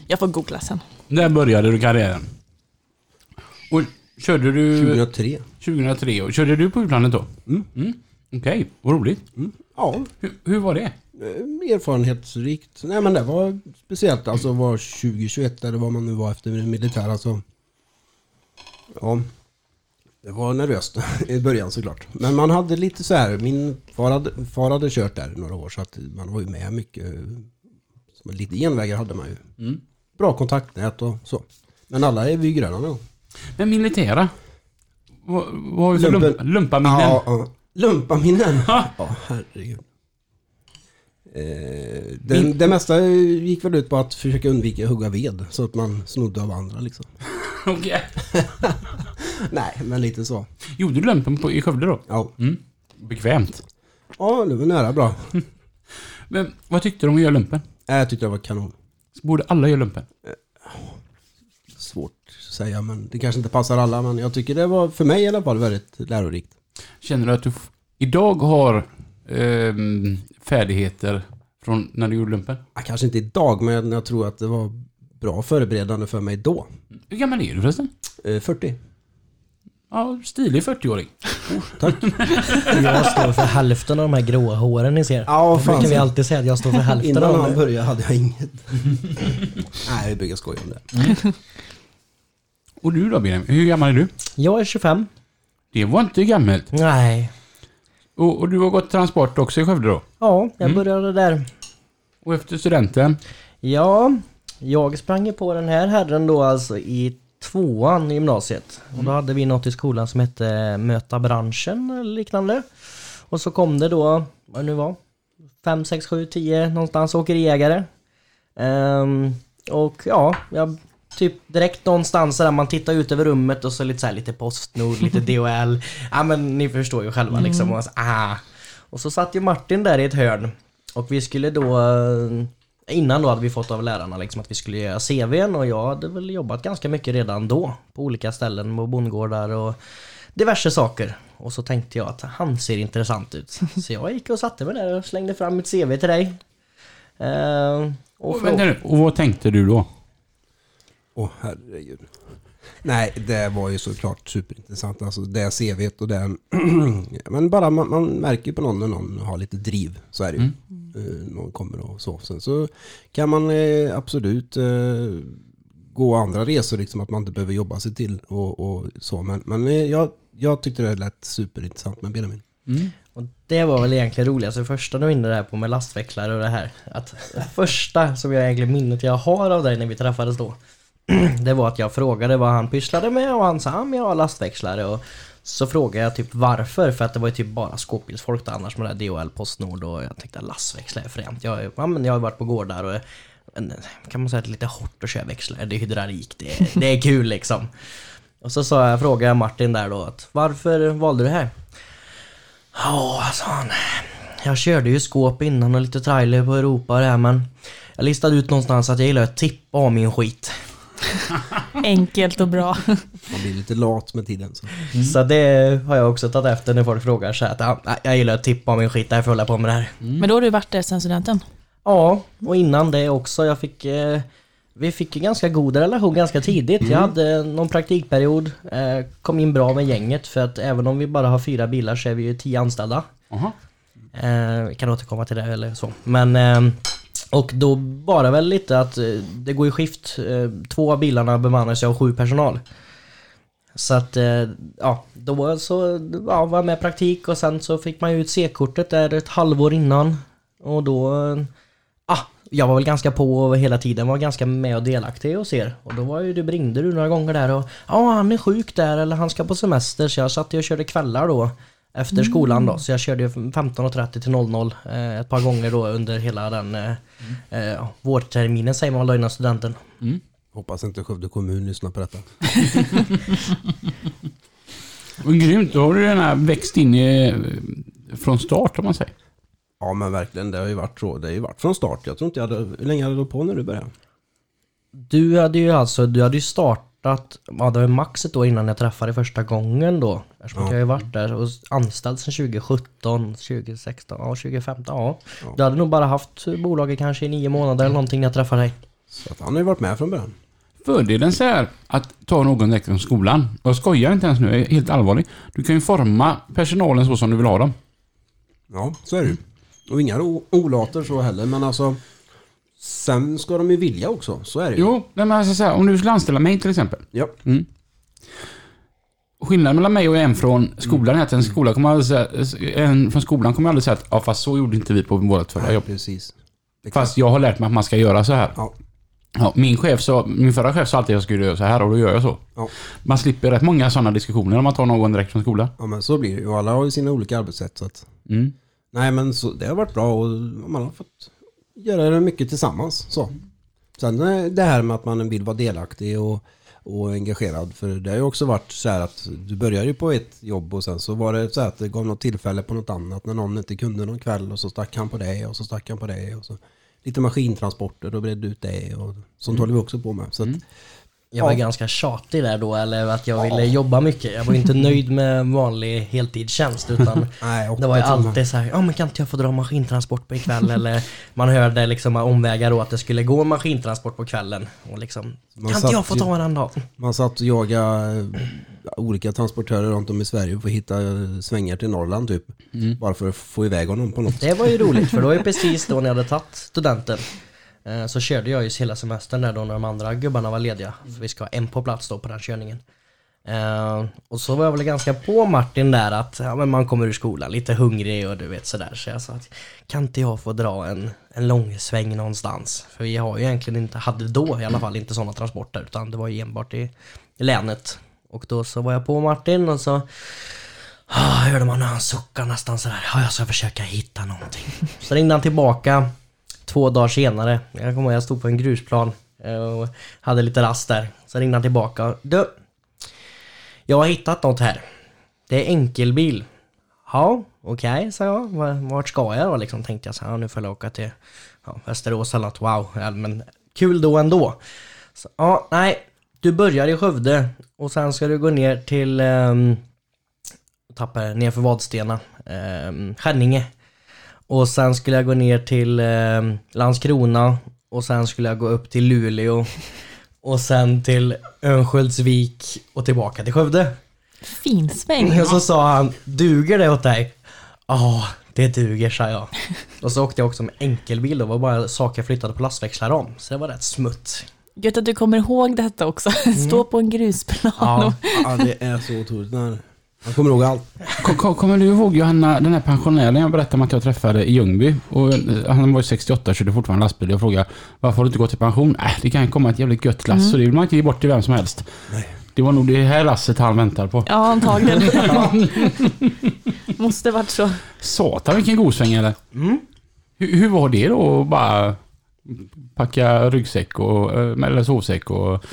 jag får googla sen.
Där började du karriären. Och körde du
2003.
2003 och körde du på utlandet då?
Mm.
Okej, vad roligt.
Ja,
Hur, hur var det?
eh, erfarenhetsrikt. Nej men det var speciellt alltså var 2021 eller vad man nu var efter militär alltså. Ja. Det var nervöst i början såklart. Men man hade lite så här, min far hade, far hade kört där i några år så att man var ju med mycket. Så lite genvägar hade man ju. Bra kontaktnät och så. Men alla är vi ju gröna nu.
Men militära? Vad, vad har vi för
Lumpen.
lump, lumpaminnen?
Ja, ja. Lumpaminnen.
Ha!
Ja, herregud. Eh, det, det mesta gick väl ut på att försöka undvika att hugga ved så att man snodde av andra liksom.
Okej.
Nej, men lite så.
Gjorde du lumpen på, i Skövde då?
Ja,
Bekvämt.
ja det var nära bra.
Men vad tyckte du om att göra lumpen?
Nej, Jag tyckte det var kanon.
Borde alla göra lumpen?
Svårt att säga, men det kanske inte passar alla. Men jag tycker det var, för mig i alla fall, väldigt lärorikt.
Känner du att du f- idag har ehm, färdigheter från när du gjorde lumpen?
Ja, kanske inte idag, men jag tror att det var bra förberedande för mig då.
Hur gammal är du förresten?
Eh, 40.
Ja, stilig 40-åring.
Jag står för hälften av de här gråa håren ni ser.
Ja,
Då brukar vi
fan.
alltid säga att jag står för hälften
Innan
av
han
dem.
började hade jag inget. Nej, jag brukar skoja om det.
Och du då Benjamin, hur gammal är du?
Jag är 25.
Det var inte gammalt.
Nej.
Och, och du har gått transport också i Skövde då?
Ja, jag började där.
Och efter studenten?
Ja, jag sprang ju på den här herren då alltså i tvåan i gymnasiet. Och då hade vi något i skolan som hette Möta branschen eller liknande. Och så kom det då, vad det nu var, 5, 6, 7, 10 någonstans åkeriägare. Ehm, och ja, jag typ direkt någonstans där man tittar ut över rummet och så lite så här lite Postnord, lite DHL. Ja men ni förstår ju själva liksom. Och så, ah. Och så satt ju Martin där i ett hörn och vi skulle då eh, Innan då hade vi fått av lärarna liksom att vi skulle göra CVn och jag hade väl jobbat ganska mycket redan då på olika ställen på bondgårdar och diverse saker. Och så tänkte jag att han ser intressant ut. Så jag gick och satte mig där och slängde fram mitt CV till dig. Eh, och
Och,
frå-
vänta nu, och vad tänkte du då?
Åh herregud. Nej, det var ju såklart superintressant. Alltså det CVt och den... men bara man, man märker ju på någon när någon har lite driv. Så är det ju. eh, någon kommer och så. Sen så kan man eh, absolut eh, gå andra resor, liksom att man inte behöver jobba sig till och, och så. Men, men eh, jag, jag tyckte det lät superintressant med Benjamin.
Mm.
Och det var väl egentligen roligast, det första du var inne där på med lastväxlare och det här. Att det första som jag egentligen minnet jag har av dig när vi träffades då. Det var att jag frågade vad han pysslade med och han sa att jag har lastväxlare. Och så frågade jag typ varför, för att det var ju typ bara skåpbilsfolk då, annars med det här DHL, Postnord och jag tänkte att lastväxlare är fränt. Jag, ja, men jag har varit på gårdar och men, kan man säga att det är lite hårt att köra växlare, det är hydraulik, det, är- det är kul liksom. Och så sa jag, frågade jag Martin där då att varför valde du det här? Ja, sa han. Jag körde ju skåp innan och lite trailer på Europa och det här men jag listade ut någonstans att jag gillar att tippa av min skit.
Enkelt och bra.
Man blir lite lat med tiden. Så.
Så det har jag också tagit efter när folk frågar så här att ja, jag gillar att tippa av min skit, därför håller jag på med det här.
Men då har du varit där sen studenten?
Ja, och innan det också. Jag fick, eh, vi fick ju ganska god relation ganska tidigt. Jag hade någon praktikperiod, eh, kom in bra med gänget för att även om vi bara har fyra bilar så är vi ju tio anställda.
Aha.
Eh, vi kan återkomma till det eller så. Men, eh, och då bara väl lite att eh, det går i skift. Eh, två av bilarna bemannas ju av sju personal. Så att, eh, ja, då så ja, var jag med i praktik och sen så fick man ju ut C-kortet där ett halvår innan. Och då, eh, ah, jag var väl ganska på och hela tiden var ganska med och delaktig hos er. Och då var ju du, ringde du några gånger där och ja, han är sjuk där eller han ska på semester. Så jag satt ju och körde kvällar då efter skolan då. Så jag körde ju 15.30 till 00 eh, ett par gånger då under hela den eh, eh, vårterminen säger man väl då innan studenten.
Hoppas inte Skövde kommun lyssnar på detta.
Men grymt, då har du den här växt in i, från start om man säger.
Ja men verkligen, det har ju varit så. Det har ju varit från start. Jag tror inte jag hade, hur länge hade du hållit på när du började?
Du hade ju alltså, du hade ju startat, ja det var ju max ett år innan jag träffade dig första gången då. Eftersom att jag har ju varit där och anställd sedan 2017, 2016, ja 2015, ja. Du hade nog bara haft bolaget kanske i nio månader eller någonting när jag träffade dig.
Så att han har ju varit med från början.
Fördelen så är att ta någon direkt från skolan. Och Jag skojar inte ens nu, jag är helt allvarlig. Du kan ju forma personalen så som du vill ha dem.
Ja, så är det ju. Och inga o- olater så heller, men alltså sen ska de ju vilja också. Så är det ju.
Jo, nej, men alltså så här, om du skulle anställa mig till exempel.
Ja.
Skillnaden mellan mig och en från skolan är att en, skola kommer aldrig säga, en från skolan kommer aldrig säga att ja, fast så gjorde inte vi på vårt förra
Nej,
jobb.
precis.
Fast jag har lärt mig att man ska göra så här.
Ja.
Ja, min, chef sa, min förra chef sa alltid att jag skulle göra så här och då gör jag så.
Ja.
Man slipper rätt många sådana diskussioner om man tar någon direkt från skolan.
ja, men så blir det ju. Och Alla har ju sina olika arbetssätt. Så att,
Mm.
nej, men så, det har varit bra och man har fått göra det mycket tillsammans. Så. Sen eh, det här med att man vill vara delaktig och, och engagerad. För det har ju också varit så här att du började ju på ett jobb och sen så var det så här att det gav något tillfälle på något annat när någon inte kunde någon kväll och så stack han på det och så stack han på det. Och så. Lite maskintransporter och bredde ut det och sånt håller vi också på med. Så att,
Jag var
Ja.
ganska tjatig där då, eller att jag ville jobba mycket. Jag var inte nöjd med vanlig heltidstjänst utan
Nej, åtta
det var ju
timmar.
alltid så här, ja men kan inte jag få dra maskintransport på ikväll eller man hörde liksom omvägar då att det skulle gå maskintransport på kvällen och liksom,
Man
kan inte jag
satt
få
ju-
ta en annan dag?
Man satt och jagade eh, olika transportörer runt om i Sverige för att hitta eh, svängar till Norrland typ. Bara för att få iväg honom på något.
Det var ju roligt för det var ju precis då när jag hade tagit studenten. Eh, Så körde jag ju hela semestern där då när de andra gubbarna var lediga. För vi ska ha en på plats då på den körningen. Eh, och så var jag väl ganska på Martin där att ja, men man kommer ur skolan lite hungrig och du vet sådär. Så jag sa att kan inte jag få dra en, en lång sväng någonstans? För vi har ju egentligen inte, hade då i alla fall inte sådana transporter utan det var ju enbart i, i länet. Och då så var jag på Martin och så Ah, hörde man hur han suckade nästan sådär. Ah, jag ska försöka hitta någonting. Så ringde han tillbaka två dagar senare. Jag kommer ihåg jag stod på en grusplan eh, och hade lite rast där. Så ringde han tillbaka. Du, jag har hittat något här. Det är enkelbil. Ja, okej, sa jag. Va- Vart ska jag då liksom? Tänkte jag så här, "Ja, nu får jag åka till ja, Västerås eller något. Wow, ja, men kul då ändå. Så, ja, nej, du börjar i Skövde och sen ska du gå ner till ehm, tappade nerför Vadstena, eh, Skänninge. Och sen skulle jag gå ner till ehm, Landskrona och sen skulle jag gå upp till Luleå och sen till Örnsköldsvik och tillbaka till Skövde.
Fin sväng.
Och så sa han, duger det åt dig? Ja, det duger sa jag. Och så åkte jag också med enkelbil och var bara saker jag flyttade på lastväxlar om. Så det var rätt smutt.
Gött att du kommer ihåg detta också. Stå på en grusplan.
Ja.
Ja, det är så otroligt. när- Man kommer ihåg allt.
Ko- ko- Kommer du ihåg Johanna, den här pensionären jag berättade om att jag träffade i Ljungby? Och eh, han var ju 68 och körde fortfarande lastbil. Jag frågade varför har du inte gått i pension? Äh, det kan ju komma ett jävligt gött lass så det vill man inte ge bort till vem som helst. Det var nog det här lasset han väntar på.
Ja, antagligen. Måste varit så.
Satan vilken god sväng eller? Hur, hur var det då att bara packa ryggsäck och, eh, eller sovsäck och...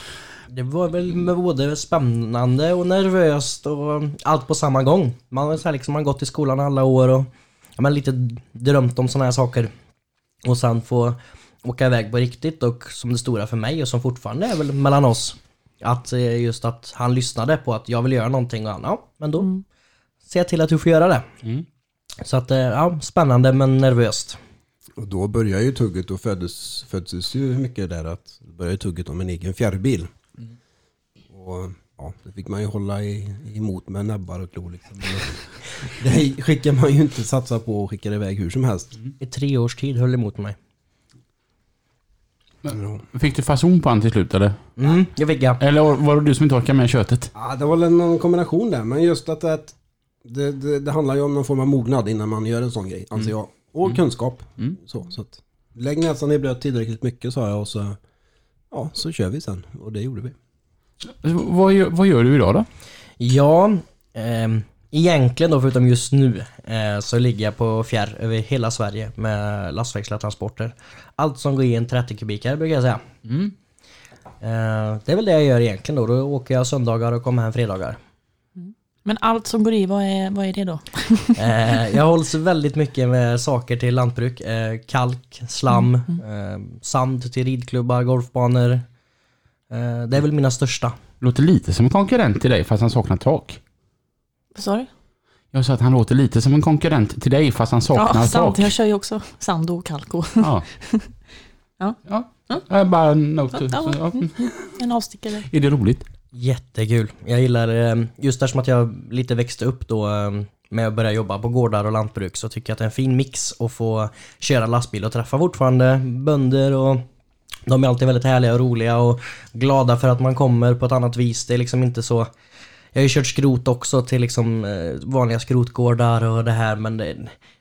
Det var väl med både spännande och nervöst och allt på samma gång. Man har så här liksom, man har gått i skolan alla år och ja, men lite drömt om sådana här saker. Och sen få åka iväg på riktigt och som det stora för mig och som fortfarande är väl mellan oss. Att eh, just att han lyssnade på att jag vill göra någonting och han, ja men då ser jag till att du får göra det. Så att eh, ja, spännande men nervöst.
Och då börjar ju tugget och föddes, föddes ju mycket där att då börjar ju tugget om en egen fjärrbil. Och ja, det fick man ju hålla i, emot med näbbar och klor liksom. Men Det skickar man ju inte satsa på och skickar iväg hur som helst.
I tre års tid höll emot mig.
Ja.
Fick du fason på han till slut eller?
Mm, det fick jag.
Eller var det du som inte orkade med köttet?
Ja, det var väl någon kombination där, men just att, att det, det, det handlar ju om någon form av mognad innan man gör en sån grej, anser jag. Och kunskap. Så, så att, lägg näsan i blöt tillräckligt mycket sa jag och så, ja, så kör vi sen. Och det gjorde vi.
Alltså, Vad, gör- vad gör du idag då?
Ja, ehm, egentligen då förutom just nu eh, så ligger jag på fjärr över hela Sverige med lastväxlartransporter. Allt som går i en 30 kubikare brukar jag säga. Eh, det är väl det jag gör egentligen då. Då åker jag söndagar och kommer hem fredagar.
Men allt som går i, vad är, vad är det då?
Eh, jag hålls väldigt mycket med saker till lantbruk. Eh, kalk, slam, eh, sand till ridklubbar, golfbanor. Eh, det är väl mina största.
Låter lite som en konkurrent till dig fast han saknar tak.
Vad sa du?
Jag sa att han låter lite som en konkurrent till dig fast han saknar
Ja, sand.
tak.
Jag kör ju också sand och kalko.
Ja.
Ja.
ja. ja. Bara en note. Så,
Ja,
ja.
En avstickare.
Är det roligt?
Jättekul. Jag gillar, eh, just där som att jag lite växte upp då eh, med att börja jobba på gårdar och lantbruk så tycker jag att det är en fin mix att få köra lastbil och träffa fortfarande bönder och de är alltid väldigt härliga och roliga och glada för att man kommer på ett annat vis. Det är liksom inte så jag har ju kört skrot också till liksom eh, vanliga skrotgårdar och det här men det,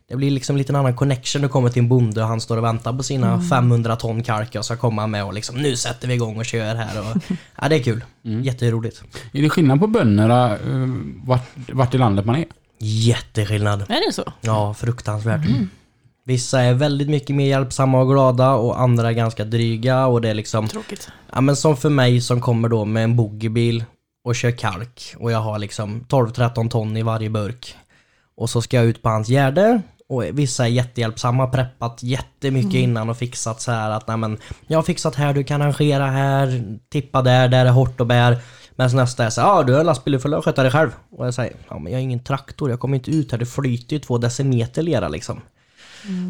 det blir liksom lite en annan connection. Du kommer till en bonde och han står och väntar på sina 500 ton kalk jag ska komma med och liksom nu sätter vi igång och kör här. Och, ja, det är kul. Jätteroligt.
Är det skillnad på bönderna eh, vart, vart i landet man är?
Jätteskillnad.
Är det så?
Ja, fruktansvärt. Vissa är väldigt mycket mer hjälpsamma och glada och andra är ganska dryga och det är liksom
Tråkigt.
Ja men som för mig som kommer då med en boogiebil och kör kalk och jag har liksom 12-13 ton i varje burk. Och så ska jag ut på hans gärde och vissa är jättehjälpsamma, preppat jättemycket innan och fixat så här att nej men jag har fixat här, du kan rangera här, tippa där, där är hårt och bär. Men nästa är så här, ja du har en lastbil, du får sköta dig själv. Och jag säger, ja men jag har ingen traktor, jag kommer inte ut här, det flyter ju två decimeter lera liksom.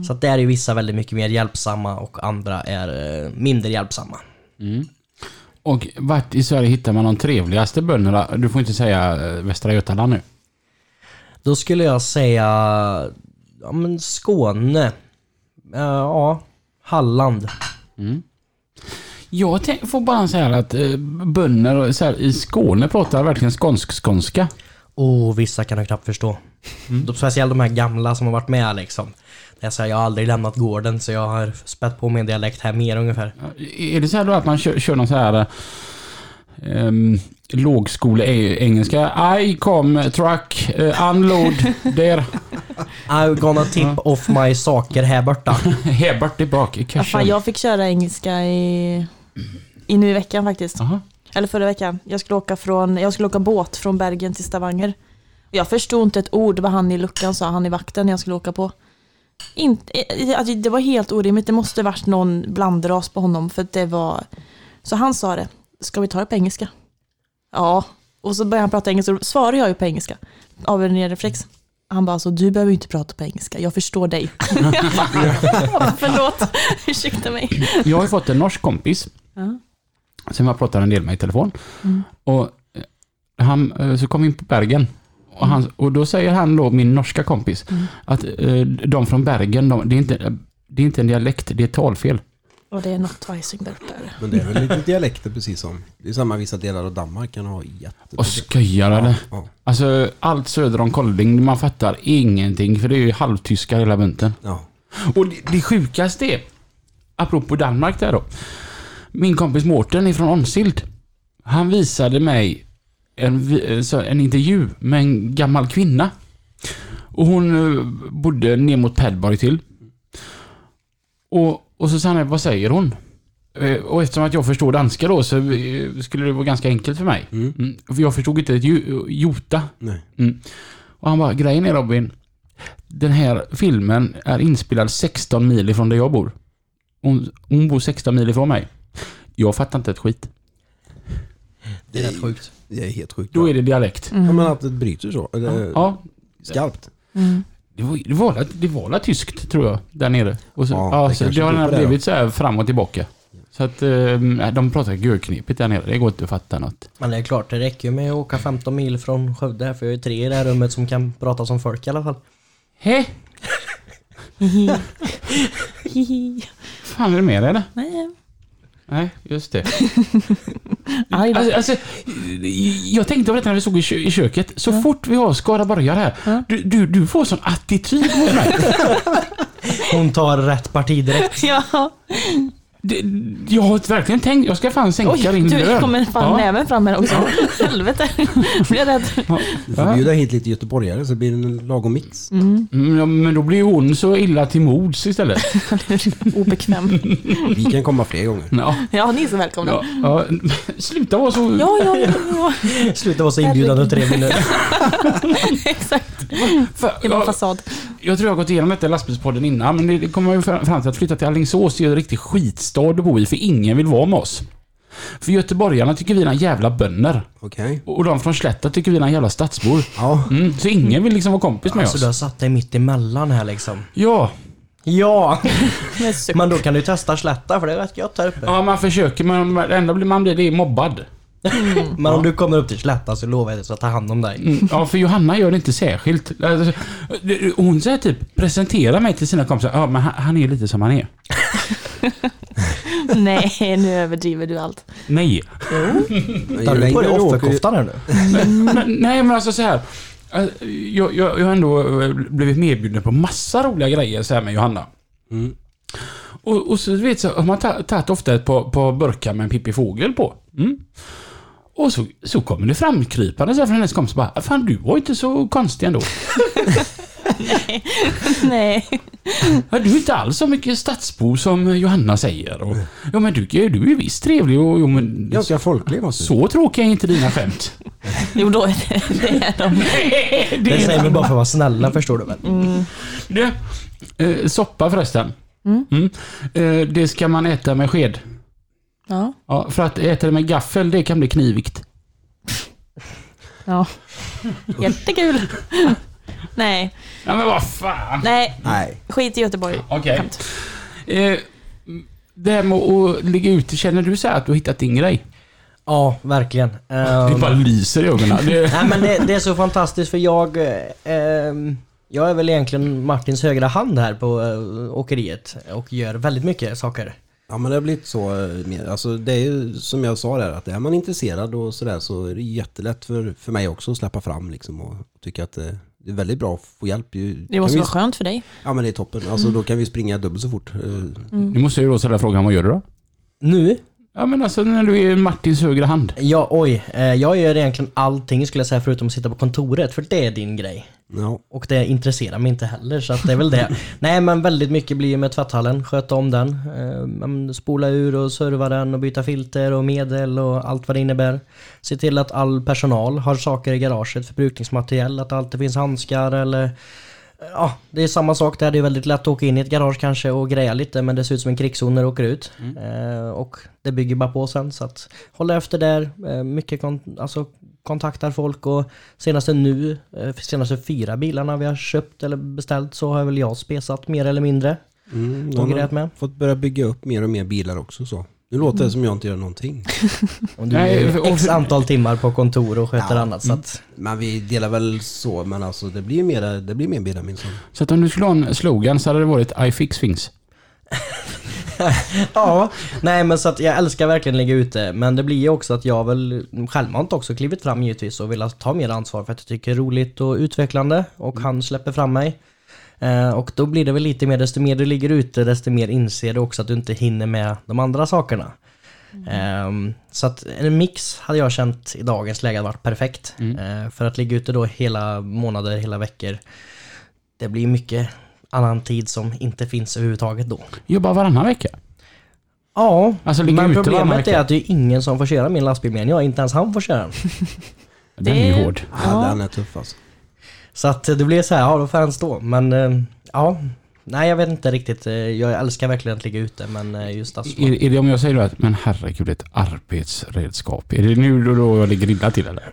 Så att där är ju vissa väldigt mycket mer hjälpsamma och andra är eh, mindre hjälpsamma.
Och vart i Sverige hittar man de trevligaste bönderna? Du får inte säga eh, Västra Götaland nu.
Då skulle jag säga ja, men Skåne. Eh, ja, Halland.
Jag tänk, får bara säga att eh, bönder och så här, i Skåne pratar verkligen skånsk-skånska.
Oh, vissa kan jag knappt förstå. De, speciellt de här gamla som har varit med liksom. Det är så här, jag har aldrig lämnat gården så jag har spätt på min dialekt här mer ungefär.
Är det så här då att man kör, kör någon så här um, lågskole-engelska? I come truck, eh, unload, there,
I'm gonna tip off my saker här borta.
Hebert tillbaka,
Ja, fan,
cashen.
jag fick köra engelska i, i nu i veckan faktiskt.
Aha.
Eller förra veckan. Jag skulle, åka från, jag skulle åka båt från Bergen till Stavanger. Och Jag förstod inte ett ord vad han i luckan sa, han i vakten jag skulle åka på. Inte, eh, alltså, det var helt orimligt, det måste varit någon blandras på honom. För att det var... Så han sa det, ska vi ta det på engelska? Ja. Och så började han prata engelska och då svarade jag ju på engelska. Av en ren reflex. Han bara, alltså, du behöver ju inte prata på engelska, jag förstår dig. Jag bara, Förlåt, ursäkta mig.
Jag har ju fått en norsk kompis
Ja. Mm.
som jag pratar en del med i telefon. Och eh, han, eh, så kom vi in på Bergen. Och,
Mm.
han, och då säger han då, min norska kompis, att eh, de från Bergen, de, det, är inte, det är inte en dialekt, det är ett talfel.
Och det är något icing där uppe.
Men det är väl lite dialekter precis som... Det är samma vissa delar av Danmark kan ha
Och
jätteproblem.
skojar eller?
Ja,
Alltså allt söder om Kolding, man fattar ingenting för det är ju halvtyska hela bunten.
ja.
Och det, det sjukaste är, apropå Danmark där då. Min kompis Mårten ifrån Onsild. Han visade mig en, vi- så- en intervju med en gammal kvinna. Och hon eh, bodde ner mot Padborg till. Och, och så sa han, vad säger hon? Eh, Och eftersom att jag förstår danska då så eh, skulle det vara ganska enkelt för mig.
Mm.
Mm. För jag förstod inte ett ju- jota. Mm.
Nej.
Och han bara, grejen är Robin, den här filmen är inspelad 16 mil ifrån där jag bor. Hon, hon bor 16 mil ifrån mig. Jag fattar inte ett skit.
Det är rätt sjukt.
Det är helt sjukt.
Då är det dialekt.
Ja, men att det bryter så. Eller,
Ja,
Skarpt.
Mm.
det var, det, var, det var la tyskt tror jag, där nere. Och så,
Ja,
ja,
det
så
kanske
det har
beror på det då.
blivit så här fram och tillbaka. Så att eh, de pratar görknepigt där nere. Det går inte att fatta något.
Men det är klart, det räcker ju med att åka 15 mil från Skövde här för jag är tre i det här rummet som kan prata som folk i alla fall.
Hä?
Hihi.
Fan är det med dig eller?
Nej,
Nej, just det.
Aj då.
Alltså, alltså, jag tänkte på detta när vi såg i, kö i köket. Så fort vi har skaraborgare här, du, du, du får sån attityd mot mig.
Hon tar rätt parti direkt.
ja.
Det, jag har verkligen tänkt, jag ska fan sänka
Oj,
din
du
lön.
kommer fan näven fram här också. Helvete. Blir jag rädd.
Ja.
Du får bjuda hit lite göteborgare så blir det en lagom mix.
Mm, ja, men då blir ju hon så illa till mods istället.
Obekväm.
Vi kan komma fler gånger.
Ja,
Ja, ni är så välkomna.
ja, ja. Sluta vara så...
Ja, ja, ja, ja.
Sluta vara så inbjudande och trevlig nu.
exakt.
För,
Det är bara
jag,
fasad.
jag tror jag har gått igenom detta i lastbilspodden innan, men det, det kommer jag ju fram fram till att flytta till Alingsås är ju en riktig skitstad att bo i, för ingen vill vara med oss. För göteborgarna tycker vi är en jävla bönder.
Okej.
Och de från Slätta tycker vi är en jävla stadsbor.
Ja.
Mm, så ingen vill liksom vara kompis med
Alltså du har
oss.
satt dig mitt emellan här liksom.
Ja.
Ja!
Men suck.
Men då kan du testa slätta för det är rätt gött här uppe.
ja, man försöker men det enda blir- man blir det är mobbad.
Men om du kommer upp till slätta så lovar jag dig så att jag tar hand om dig.
Mm, ja, för Johanna gör det inte särskilt. Alltså, det- Hon säger typ, presentera mig till sina kompisar. Ja, men han, han är lite som han är.
Nej, nu överdriver du allt.
Nej.
Tar du på dig offerkoftan här nu?
Men, nej, men alltså så här. eh, Jag, jag, jag har ändå eh, blivit medbjuden på massa roliga grejer så här med Johanna.
Mm.
Och, och så du vet så har man ta- tagit ofta ett par, par burkar med en Pippi Fågel på. Mm. Och så, så kommer det framkrypande så här från hennes kompis bara, "Ah, fan du var inte så konstig ändå.
Nej.
Ja, du är inte alls så mycket stadsbo som Johanna säger. Och, ja men du, du är ju visst trevlig och jo, men,
Ganska folklig måste
så tråkiga är inte dina skämt.
Jo, då är det, det är de.
Det säger vi bara för att vara
Mm.
snälla förstår du väl?
Du, eh, soppa förresten. Mm. Eh, det ska man äta med sked.
Ja.
Ja, för att äta det med gaffel, det kan bli knivigt.
ja. Jättekul. Nej,
Ja men vad fan.
nej.
Nej.
Skit i Göteborg.
Okej.
Skämt.
Eh, det här med att ligga ute, känner du så här att du har hittat din grej?
Ja, verkligen.
Det
Ehm,
bara lyser i ögonen. Det,
Nej men det, det är så fantastiskt för jag... Eh, ehm, jag är väl egentligen Martins högra hand här på eh, åkeriet och gör väldigt mycket saker.
Ja men det har blivit så. eh, mer. Alltså, det är ju som jag sa där att är man intresserad och sådär så är det jättelätt för, för mig också att släppa fram liksom och tycka att eh, det är väldigt bra att få hjälp. Ju-
Det
kan
måste
vi,
vara skönt för dig.
Ja men det är toppen. Alltså då kan vi springa dubbelt så fort. Eh,
nu måste jag ju då ställa frågan, vad gör du då?
Nu?
Ja men alltså när du är Martins högra hand.
Ja, oj. Eh, jag gör egentligen allting skulle jag säga förutom att sitta på kontoret, för det är din grej.
Ja.
Och det intresserar mig inte heller, så att det är väl det. Nej men väldigt mycket blir ju med tvätthallen, sköta om den. Eh, men spola ur och serva den och byta filter och medel och allt vad det innebär. Se till att all personal har saker i garaget, förbrukningsmaterial, att det alltid finns handskar eller Ja, det är samma sak där. Det är väldigt lätt att åka in i ett garage kanske och greja lite men det ser ut som en krigszon när du åker ut. Eh, och det bygger bara på sen så att hålla efter där. Eh, mycket kon- alltså, kontaktar folk och senaste nu, eh, senaste fyra bilarna vi har köpt eller beställt så har väl jag spesat mer eller mindre.
Mm,
Och
man har
grejat med.
Fått börja bygga upp mer och mer bilar också så. Nu låter det som jag inte gör någonting.
Om du
Nej,
är
för- och-
x antal timmar på kontor och sköter
Ja,
annat. Så att,
Men vi delar väl så, men alltså det blir mer, det blir mer Benjamin som...
Så att om du skulle ha en slogan så hade det varit I fix things.
ja, nej men så att jag älskar verkligen ligga ute. Men det blir ju också att jag väl självmant också klivit fram givetvis och velat ta mer ansvar för att jag tycker det är roligt och utvecklande. Och han släpper fram mig. Eh, och då blir det väl lite mer, desto mer du ligger ute, desto mer inser du också att du inte hinner med de andra sakerna. Ehm, så att en mix hade jag känt i dagens läge hade varit perfekt. Eh, för att ligga ute då hela månader, hela veckor. Det blir mycket annan tid som inte finns överhuvudtaget då.
Jobba varannan vecka.
Ja,
Alltså, ligga
men
ute varannan
problemet
vecka.
är att det är ingen som får köra min lastbil mer än jag, inte ens han får köra den.
Den är ju
Det-
hård.
Ja. Den är tuff alltså.
Så att det blir så här, ja då får han stå. Men eh, ja, nej jag vet inte riktigt. Eh, Jag älskar verkligen att ligga ute men eh, just asfalt.
Är, är det om jag säger då att, men herregud ett arbetsredskap. Är det nu då, då jag ligger illa till eller?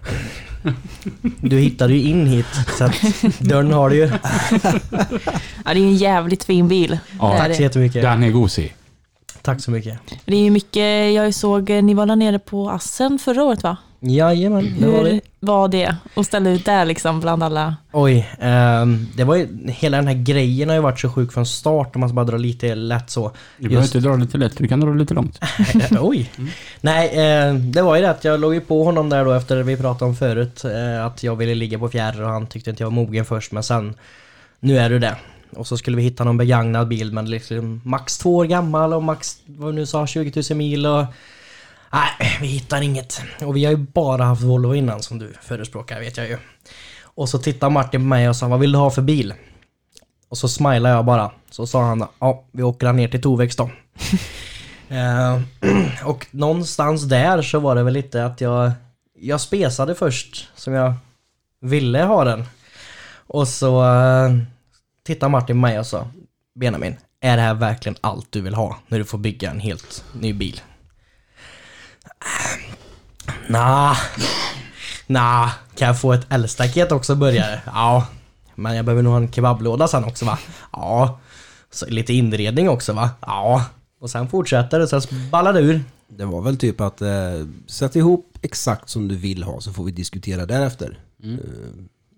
Du hittade ju in hit så att dörren har du ju.
Ja, det är en jävligt fin bil.
Ja.
Det är
Tack så
det.
jättemycket.
Den är gosig.
Tack så mycket.
det är ju mycket, jag såg, eh, ni var där nere på Assen förra året va?
Jajamän, det var det.
Hur var det att ställa ut där liksom bland alla?
Oj, ehm, det var ju, hela den här grejen har ju varit så sjuk från start om man ska bara dra lite lätt så.
Du behöver
Just-
inte dra lite lätt, du kan dra lite långt.
Eh, Oj! Nej, eh, det var ju det att jag låg ju på honom där då efter vi pratade om förut. Eh, att jag ville ligga på fjärr och han tyckte inte jag var mogen först men sen Nu är du det. Och så skulle vi hitta någon begagnad bil men liksom max två år gammal och max vad du nu sa 20 000 mil och Nej, vi hittar inget. Och vi har ju bara haft Volvo innan som du förespråkar vet jag ju. Och så tittar Martin på mig och sa vad vill du ha för bil? Och så smilade jag bara. Så sa han ja, vi åker ner till Tovex då. Eh, och någonstans där så var det väl lite att jag, jag spesade först som jag ville ha den. Och så eh, tittade Martin på mig och sa Benjamin, är det här verkligen allt du vill ha när du får bygga en helt ny bil? Äh, Nah. Nah, kan jag få ett älstaket också började? Ja. Men jag behöver nog ha en kebablåda sen också va? Ja. Så lite inredning också va? Ja. Och sen fortsätter det, sen ballar det ur.
Det var väl typ att eh, sätt ihop exakt som du vill ha så får vi diskutera därefter. Eh,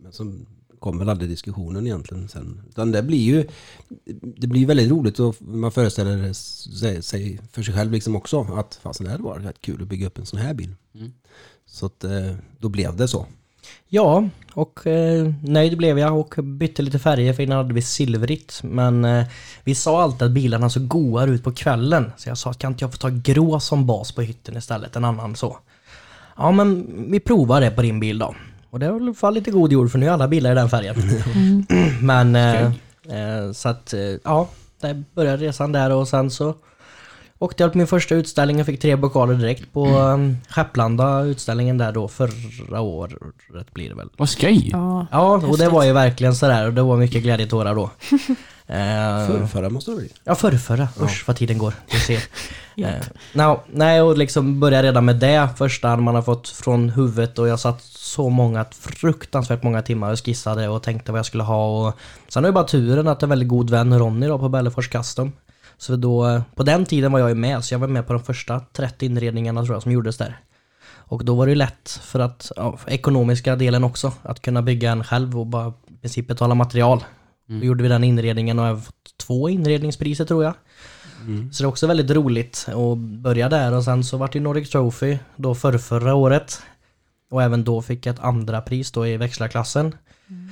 men så kommer väl aldrig diskussionen egentligen sen. Utan det blir ju det blir väldigt roligt och man föreställer sig, sig för sig själv liksom också att fasen det hade varit rätt kul att bygga upp en sån här bil. Så att eh, då blev det så.
Ja, och eh, nöjd blev jag och bytte lite färger för innan hade vi silvrigt. Men eh, vi sa alltid att bilarna såg goar ut på kvällen. Så jag sa, kan inte jag få ta grå som bas på hytten istället? En annan så. Ja, men vi provar det på din bil då. Och det är väl i alla fall lite god jord för nu är alla bilar i den färgen. men eh, eh, så att, eh, ja, där började resan där och sen så Åkte jag på min första utställning och fick tre bokaler direkt på mm. Skepplanda utställningen där då förra året blir det väl.
Vad skoj!
Ja.
Ja, och det var ju verkligen sådär och det var mycket glädjetårar då.
Förrförra
eh,
måste det bli.
ja, förrförra. Usch vad tiden går. Du ser.
Japp.
eh, no, nej, och liksom börja redan med det första man har fått från huvudet och jag satt så många, fruktansvärt många timmar och skissade och tänkte vad jag skulle ha. Och, sen har jag bara turen att en väldigt god vän Ronny då på Bellefors Custom. Så då, eh, på den tiden var jag ju med, så jag var med på de första 30 inredningarna tror jag som gjordes där. Och då var det ju lätt för att, ja, för ekonomiska delen också, att kunna bygga en själv och bara i princip betala material. Mm. Då gjorde vi den inredningen och jag har fått två inredningspriser tror jag. Så det är också väldigt roligt att börja där och sen så vart det Nordic Trophy då för förra året. Och även då fick jag ett andra pris då i växlarklassen.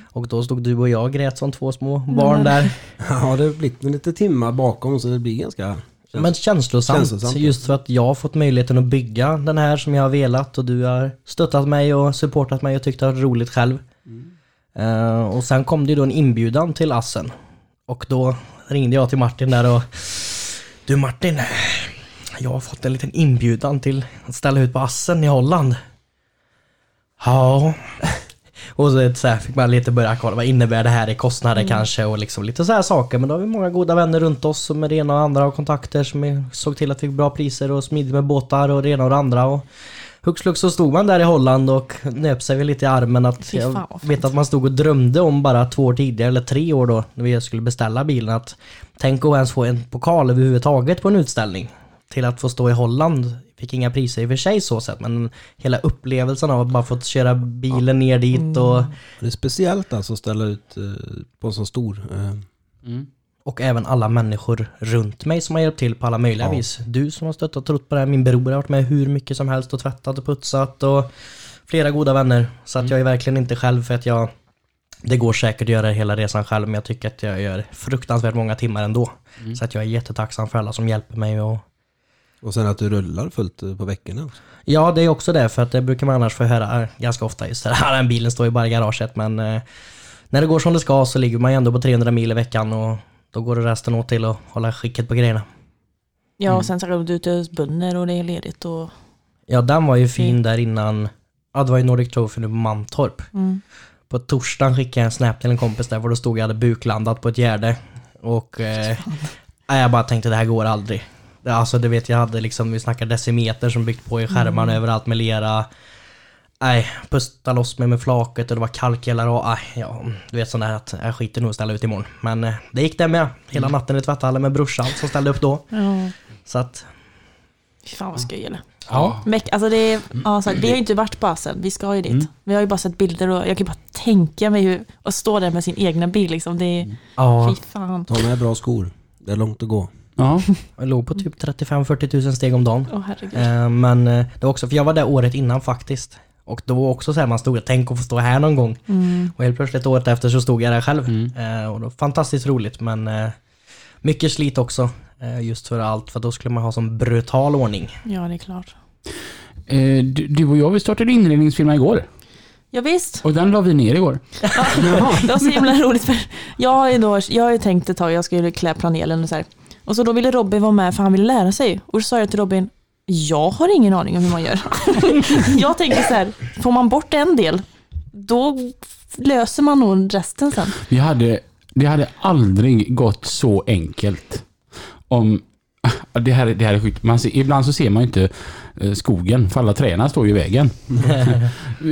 Och då stod du och jag och grät som två små barn där.
Ja, det har blivit lite timmar bakom så det blir ganska...
Men känslosamt,
Känslosamt, ja.
just för att jag har fått möjligheten att bygga den här som jag har velat och du har stöttat mig och supportat mig och tyckt det var roligt själv.
Mm.
Eh, och sen kom det ju då en inbjudan till Assen. Och då ringde jag till Martin där och Du Martin, jag har fått en liten inbjudan till att ställa ut på Assen i Holland. Ja. Och så, så här fick man lite börja kolla vad innebär det här i kostnader
Mm.
kanske och liksom lite så här saker. Men då har vi många goda vänner runt oss som är det ena och andra och kontakter som är- såg till att vi fick bra priser och smidigt med båtar och det ena och det andra. Och hux flux så stod man där i Holland och nöp sig väl lite i armen att
Fy fan,
jag
vad fint.
vet att man stod och drömde om bara två år tidigare eller tre år då när vi skulle beställa bilen att tänk att ens få en pokal överhuvudtaget på en utställning. till att få stå i Holland. Fick inga priser i och för sig så sett, men hela upplevelsen av att bara fått köra bilen ner dit och,
Det är speciellt alltså att ställa ut eh, på en så stor. Eh,
och även alla människor runt mig som har hjälpt till på alla möjliga vis. Du som har stöttat och trott på det här, min bror har varit med hur mycket som helst och tvättat och putsat och flera goda vänner. Så att jag är verkligen inte själv för att jag, det går säkert att göra hela resan själv, men jag tycker att jag gör fruktansvärt många timmar ändå. Så att jag är jättetacksam för alla som hjälper mig och
och sen att du rullar fullt eh, på veckorna. också.
Ja, det är också det, för att det brukar man annars få höra eh, ganska ofta. Just det här, den bilen står ju bara i garaget, men eh, när det går som det ska så ligger man ju ändå på 300 mil i veckan och då går det resten åt till att hålla skicket på grejerna.
Ja,
Mm.
och sen så är du ute hos bönder och det är ledigt och...
Ja, den var ju fin där innan. Ja, det var ju Nordic Trophy nu på Mantorp.
Mm.
På torsdagen skickade jag en snap till en kompis där, för då stod jag och hade buklandat på ett gärde. Och eh, nej, jag bara tänkte det här går aldrig. Det- Alltså du vet jag hade liksom, vi snackar decimeter som byggt på i skärmarna
Mm.
överallt med lera. Nej, pusta loss mig med flaket och det var kalkgällare och aj, ja, du vet sån där att jag skiter nog i att ställa ut imorgon. Men eh, det gick det med. Hela
Mm.
natten i tvätthallen med brorsan som ställde upp då.
Ja.
Så att
Fy fan vad skoj eller?
Ja.
Mäk- Alltså det är,
Mm.
ja, så här, vi har ju inte varit på Asien, vi ska ju dit. Vi har ju bara sett bilder och jag kan ju bara tänka mig hur, att stå där med sin egna bil liksom. Det är,
ja,
fy fan.
Ta med bra skor. Det är långt att gå.
Ja.
jag låg på typ 35-40 tusen steg om dagen.
Åh herregud.
Eh, Men eh, det var också, för jag var där året innan faktiskt. Och då var också så här man stod och tänk att få stå här någon gång. Och helt plötsligt året efter så stod jag där själv.
Mm.
Eh, Och då, fantastiskt roligt men eh, mycket slit också. eh, Just för allt, för då skulle man ha sån brutal ordning.
Ja, det är klart.
Eh, du, du och jag, vi startade inredningsfirma igår.
Ja, visst.
Och den la vi ner igår.
Det var så himla roligt för jag har ju, då, jag har ju tänkt ett tag jag skulle klä planelen och så här. Och så då ville Robin vara med för han ville lära sig. Och så sa jag till Robin, jag har ingen aning om hur man gör. jag tänker så här, får man bort en del, då löser man nog resten sen.
Vi hade, det hade aldrig gått så enkelt. Om, Ja, det, här, är- det här är sjukt. Man ser, ibland så ser man ju inte eh, skogen, för alla träna står ju i vägen.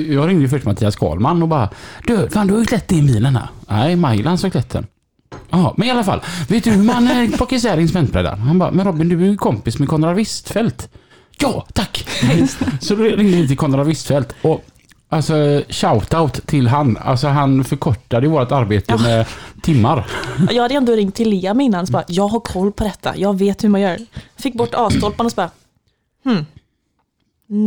Jag ringde ju först Mattias Karlman och bara Du, fan du har ju klätt din bilen här. Nej, Mailan som klätt den. Jaha, men i alla fall. Vet du hur man eh, plockar isär instrumentbrädan? Han bara, men Robin du är ju kompis med Konrad Wistfeldt. Ja, tack! så då ringde vi till Konrad Wistfeldt och Alltså shoutout till han. Alltså han förkortade ju vårt arbete med timmar.
Jag hade ändå ringt till Liam innan, så bara, jag har koll på detta, jag vet hur man gör. Fick bort A-stolparna och så bara, hmm,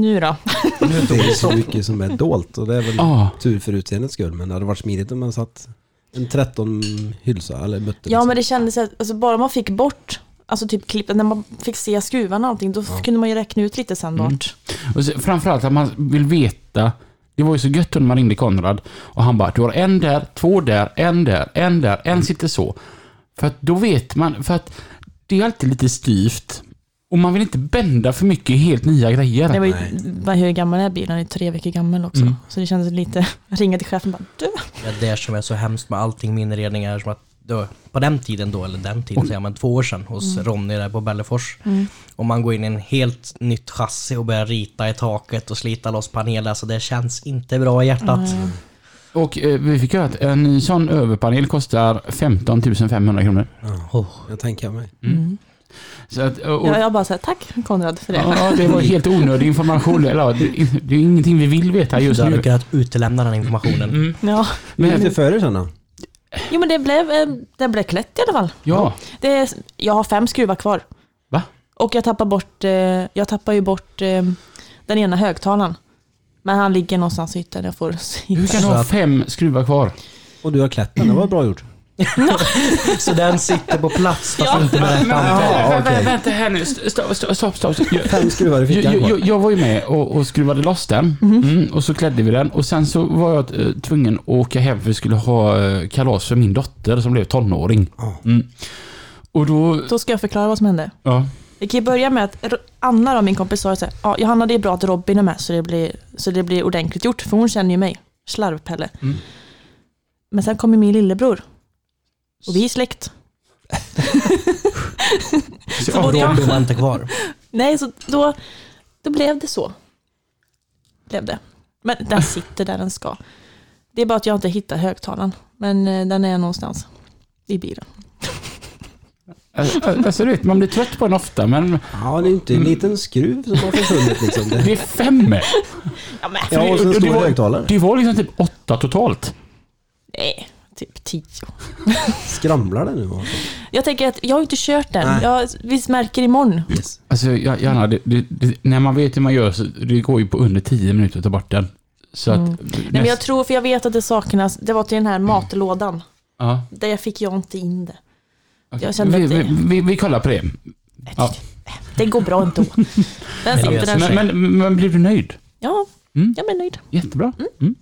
nu då?
Det är så mycket som är dolt och det är väl
Ja.
tur för utseendets skull. Men det hade varit smidigt om man satt en 13 hylsa eller liksom. mötte.
Ja men
Liksom.
det kändes att, alltså, bara man fick bort, alltså typ klipp, när man fick se skruvarna och allting, då kunde man ju räkna ut lite sen
Mm.
vart.
Och så, framförallt att man vill veta. Det var ju så gött när man ringde Konrad och han bara, du har en där, två där, en där, en där, en sitter så. För att då vet man, för att det är alltid lite styvt. Och man vill inte bända för mycket i helt nya grejer.
Det var ju, vad- hur gammal är bilen? Den är tre veckor gammal också.
Mm.
Så det kändes lite, ringa till chefen och bara du.
Det är det som är så hemskt med allting med inredning är som att då, på den tiden då, eller den tiden, säger man två år sedan hos Ronny där på Bellefors. Och man går in i en helt nytt chassi och börjar rita i taket och slita loss paneler, så det känns inte bra i hjärtat.
Och eh, vi fick höra att en ny sån överpanel kostar 15 500 kronor.
Jag tänker mig.
Så att, och,
Jag, jag bara såhär, tack Konrad för det.
Ja, det var helt onödig information. Eller, ja, det, det är ingenting vi vill veta just
Du hade
nu.
kunnat utelämna den informationen.
Mm.
Ja.
Men lite före sen då?
Jo men det blev, eh, det blev klätt i alla fall.
Ja,
Det, är- jag har fem skruvar kvar.
va?
Och jag tappar bort, eh, jag tappar ju bort eh, den ena högtalaren. Men han ligger någonstans i hytten, jag får
Hur
hitta.
kan du ha fem skruvar kvar?
Och du har klätt den, det var bra gjort.
Så den sitter på plats fast
Ja.
inte med rätt antal.
Ja, okej.
Vänta här nu, stopp, stopp, stopp. stopp.
Fem skruvar i
Jag,
fickan
jag,
kvar.
jag, jag var ju med och, och skruvade loss den mm, och så klädde vi den och sen så var jag eh, tvungen att åka hem för vi skulle ha eh, kalas för min dotter som blev tonåring. Mm. Och då...
Då ska jag förklara vad som hände.
Ja.
Vi kan ju börja med att R- Anna, då, min kompis, sa att ja, Johanna det är bra att Robin är med så det, blir, så det blir ordentligt gjort, för hon känner ju mig, slarvpelle.
Mm.
Men sen kommer min lillebror. Och vi är släkt.
Så,
Så både jag-
Robin var inte kvar.
Nej, så då, då blev det så. Blev det. Men den sitter där den ska. Det är bara att jag inte hittar högtalaren, men eh, den är någonstans i bilen.
Alltså du vet, man blir trött på den ofta men
Ja, det är ju inte en liten skruv som har försvunnit liksom. Det,
det är fem.
Ja, men,
ja, och så en
Det
stor
var-
högtalare.
Det var liksom typ åtta totalt.
nej, typ tio.
Skramlar den nu? Alltså.
Jag tänker att jag har inte kört den.
Nej.
Jag, vi märker imorgon.
Yes.
Alltså jag- Janna, det, det, det, när man vet hur man gör så det går ju på under tio minuter att ta bort den. Så att... näst-
Mm. Nej, men jag tror, för jag vet att det saknas, det var till den här matlådan.
ja,
Där fick jag inte in det.
okej.
jag kände
vi,
att det-
vi, vi, vi kollar på det. Ja.
Det går bra ändå. Den sitter den
Men, men, men blir du nöjd?
Ja,
Mm.
jag blir nöjd.
Jättebra. Mm.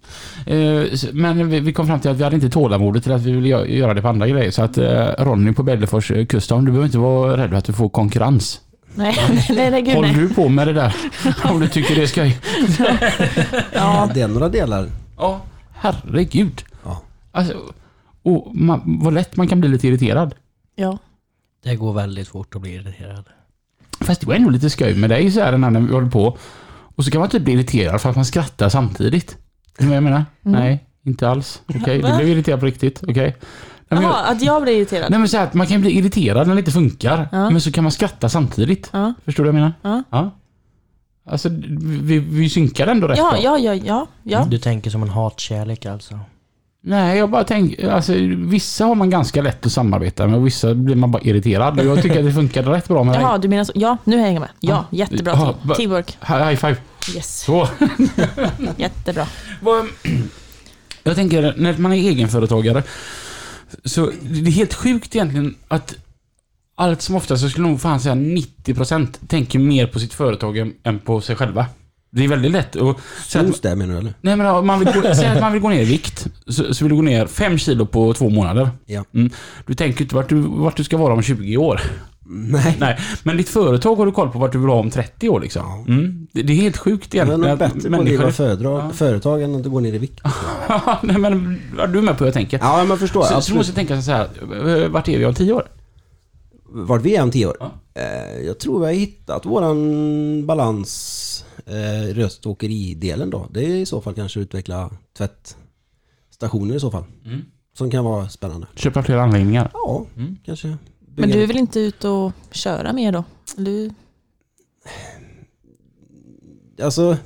Eh, så- men vi, vi kom fram till att vi hade inte tålamodet till att vi ville gö- göra det på andra grejer. Så att
Mm.
eh, Ronny på Bällefors eh, Custom, du behöver inte vara rädd att du får konkurrens.
Nej, nej, nej, gud
Håll
nej.
du på med det där om du tycker det ska...
Ja. Det är några delar.
Ja, herregud.
Ja.
Alltså, och man, vad lätt man kan bli lite irriterad.
Ja.
Det går väldigt fort att bli irriterad.
Fast det var ändå lite skoj med dig så här när vi håller på. Och så kan man typ bli irriterad för att man skrattar samtidigt. Är du med vad jag menar?
Mm.
Nej, inte alls. Okej, du blev irriterad på riktigt. Okej. Nej, men jag-
Jaha, att jag blir irriterad.
Nej men så här, att man kan bli irriterad när det inte funkar,
Ja.
men så kan man skratta samtidigt.
Ja.
Förstår du vad jag menar?
Ja.
Alltså, vi, vi synkar ändå rätt
Ja,
bra.
ja, ja, ja,
Mm.
ja.
Du tänker som en hatkärlek alltså.
Nej, jag bara tänker, alltså vissa har man ganska lätt att samarbeta med och vissa blir man bara irriterad. Och jag tycker att det funkade rätt bra med dig.
Jaha, du menar så. Ja, nu hänger jag med. Ja,
Ja.
jättebra.
Ja,
team-
va-
Teamwork.
Hi- High five.
Yes,
Så.
jättebra.
Vad- Jag tänker, när man är egenföretagare, så det är helt sjukt egentligen att allt som ofta så skulle nog fan säga 90% tänker mer på sitt företag än- än på sig själva. Det är väldigt lätt att... säga att-
Syns det menar du eller?
Nej men om man vill gå, säg att man vill gå ner i vikt, så, så vill du gå ner 5 kilo på två månader.
Ja.
Mm. Du tänker inte vart du, vart du ska vara om 20 år.
Nej.
Nej, men ditt företag har du koll på vart du vill vara om 30 år liksom. Mm. Det, det är helt sjukt
Det är
egentligen.
nog
att
bättre på att
människor-
driva företag, företag än att gå ner i vikt.
Ja, Nej men, är du med på hur jag tänker?
Ja, men jag förstår.
Så, så
absolut.
måste jag tänka så här, eh, vart är vi om tio år?
Vart vi är om tio år?
Ja.
Eh, Jag tror vi har hittat våran balans eh, röståkeridelen då. Det är i så fall kanske utveckla tvättstationer i så fall. Som kan vara spännande.
Köpa fler anläggningar.
Ja, kanske.
Men
Bygga-
du vill inte ut och köra mer då? Du...
Alltså,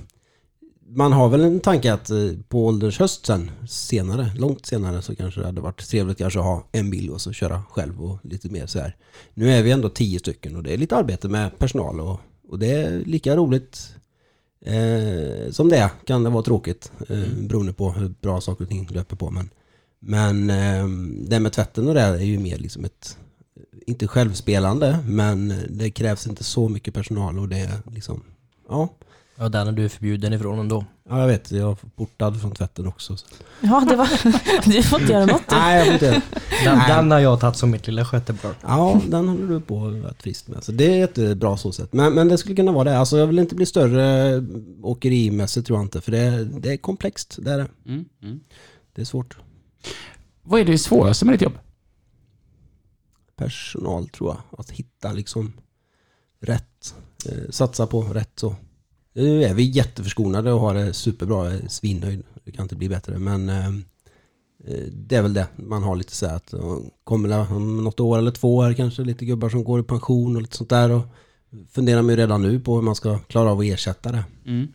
man har väl en tanke att eh, på ålders höst sen, senare, långt senare så kanske det hade varit trevligt kanske att ha en bil och så köra själv och lite mer så här. Nu är vi ändå tio stycken och det är lite arbete med personal och, och det är lika roligt eh, som det är. kan det vara tråkigt eh, beroende på hur bra saker och ting löper på. Men, men eh, det med tvätten och det här är ju mer liksom ett inte självspelande men det krävs inte så mycket personal och det är liksom ja
Ja, den är du förbjuden ifrån ändå.
Ja, jag vet. Jag är portad från tvätten också. Så.
Ja, det var... Du får inte göra något.
Nej, jag får inte.
Den, den har jag tagit som mitt lilla sköteblock.
Ja, den håller du på att vara trist med. Så det är jättebra så sett. Men, men det skulle kunna vara det. Alltså, jag vill inte bli större åkerimässigt tror jag inte. För det, det är komplext. Det är, det. det är svårt.
Mm, Vad är det svåraste med ditt jobb?
Personal tror jag. Att hitta liksom rätt. Eh, satsa på rätt så. Nu är vi jätteförskonade och har det superbra. Jag är svinnöjd. Det kan inte bli bättre. Men eh, eh, det är väl det. Man har lite så här att eh, kommer det om något år eller två år kanske lite gubbar som går i pension och lite sånt där. Och funderar man ju redan nu på hur man ska klara av att ersätta det.
Mm.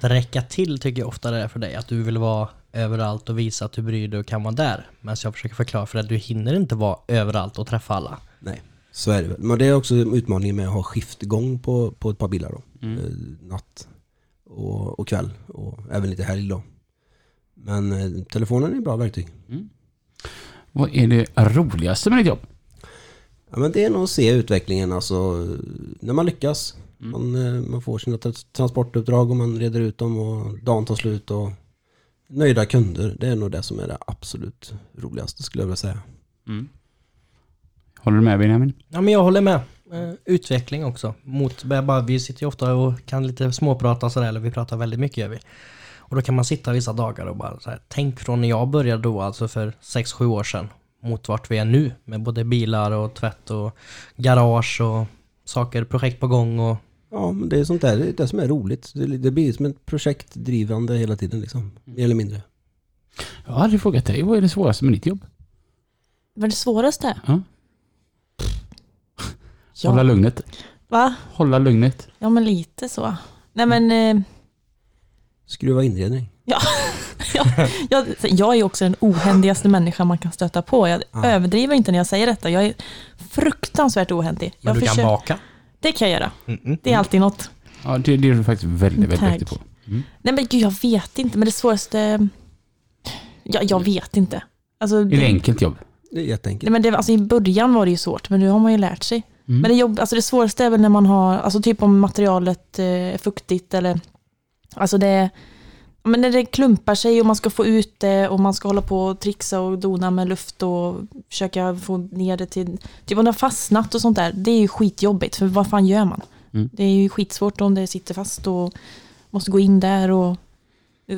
Att räcka till tycker jag ofta det är för dig. Att du vill vara överallt och visa att du bryr dig och kan vara där. Men så jag försöker förklara för dig att du hinner inte vara överallt och träffa alla.
Nej, så är det väl. Men det är också utmaningen med att ha skiftgång på, på ett par bilar då. Eh, natt och, och kväll och även lite helg då. Men eh, telefonen är ett bra verktyg.
Vad är det roligaste med ditt jobb?
Ja, men det är nog att se utvecklingen alltså, när man lyckas. Man, eh, man får sina tra- transportuppdrag och man reder ut dem och dagen tar slut och nöjda kunder. Det är nog det som är det absolut roligaste skulle jag vilja säga.
Mm. Håller du med Benjamin?
Ja men jag håller med. Eh, Utveckling också. Mot, bara, vi sitter ju ofta och kan lite småprata och sådär, eller vi pratar väldigt mycket gör vi. Och då kan man sitta vissa dagar och bara så här, tänk från när jag började då, alltså för 6-7 år sedan, mot vart vi är nu med både bilar och tvätt och garage och saker, projekt på gång och
Ja, men det är sånt där, det är det som är roligt. Det, det blir som ett projektdrivande hela tiden liksom, mer eller mindre.
Jag har aldrig frågat dig, vad är det svåraste med ditt jobb?
Vad det svåraste är?
Ja. Hålla
Ja.
lugnet.
Va?
Hålla lugnet.
Ja, men lite så. Nej, men eh,
Skruva inredning.
jag, jag är också den ohändigaste människan man kan stöta på. Jag
Ja.
överdriver inte när jag säger detta. Jag är fruktansvärt ohändig.
Men
Jag
du kan Mm.
försöker-
baka?
Det kan jag göra.
Mm-mm.
Det är alltid något.
Ja, det, det är du faktiskt väldigt, väldigt
Tack.
duktig på.
Nej men gud, jag vet inte. Men det svåraste... Ja,
Mm.
jag vet inte. Alltså,
Är det
det,
enkelt jobb?
Det är jätteenkelt.
nej, men det, alltså, I början var det ju svårt, men nu har man ju lärt sig.
Mm.
Men det, jobb, alltså, det svåraste är väl när man har, alltså typ om materialet eh, är fuktigt eller alltså det är- ja, men när det klumpar sig och man ska få ut det och man ska hålla på och trixa och dona med luft och försöka få ner det till, typ om det har fastnat och sånt där, det är ju skitjobbigt för vad fan gör man?
Mm.
Det är ju skitsvårt om det sitter fast och måste gå in där och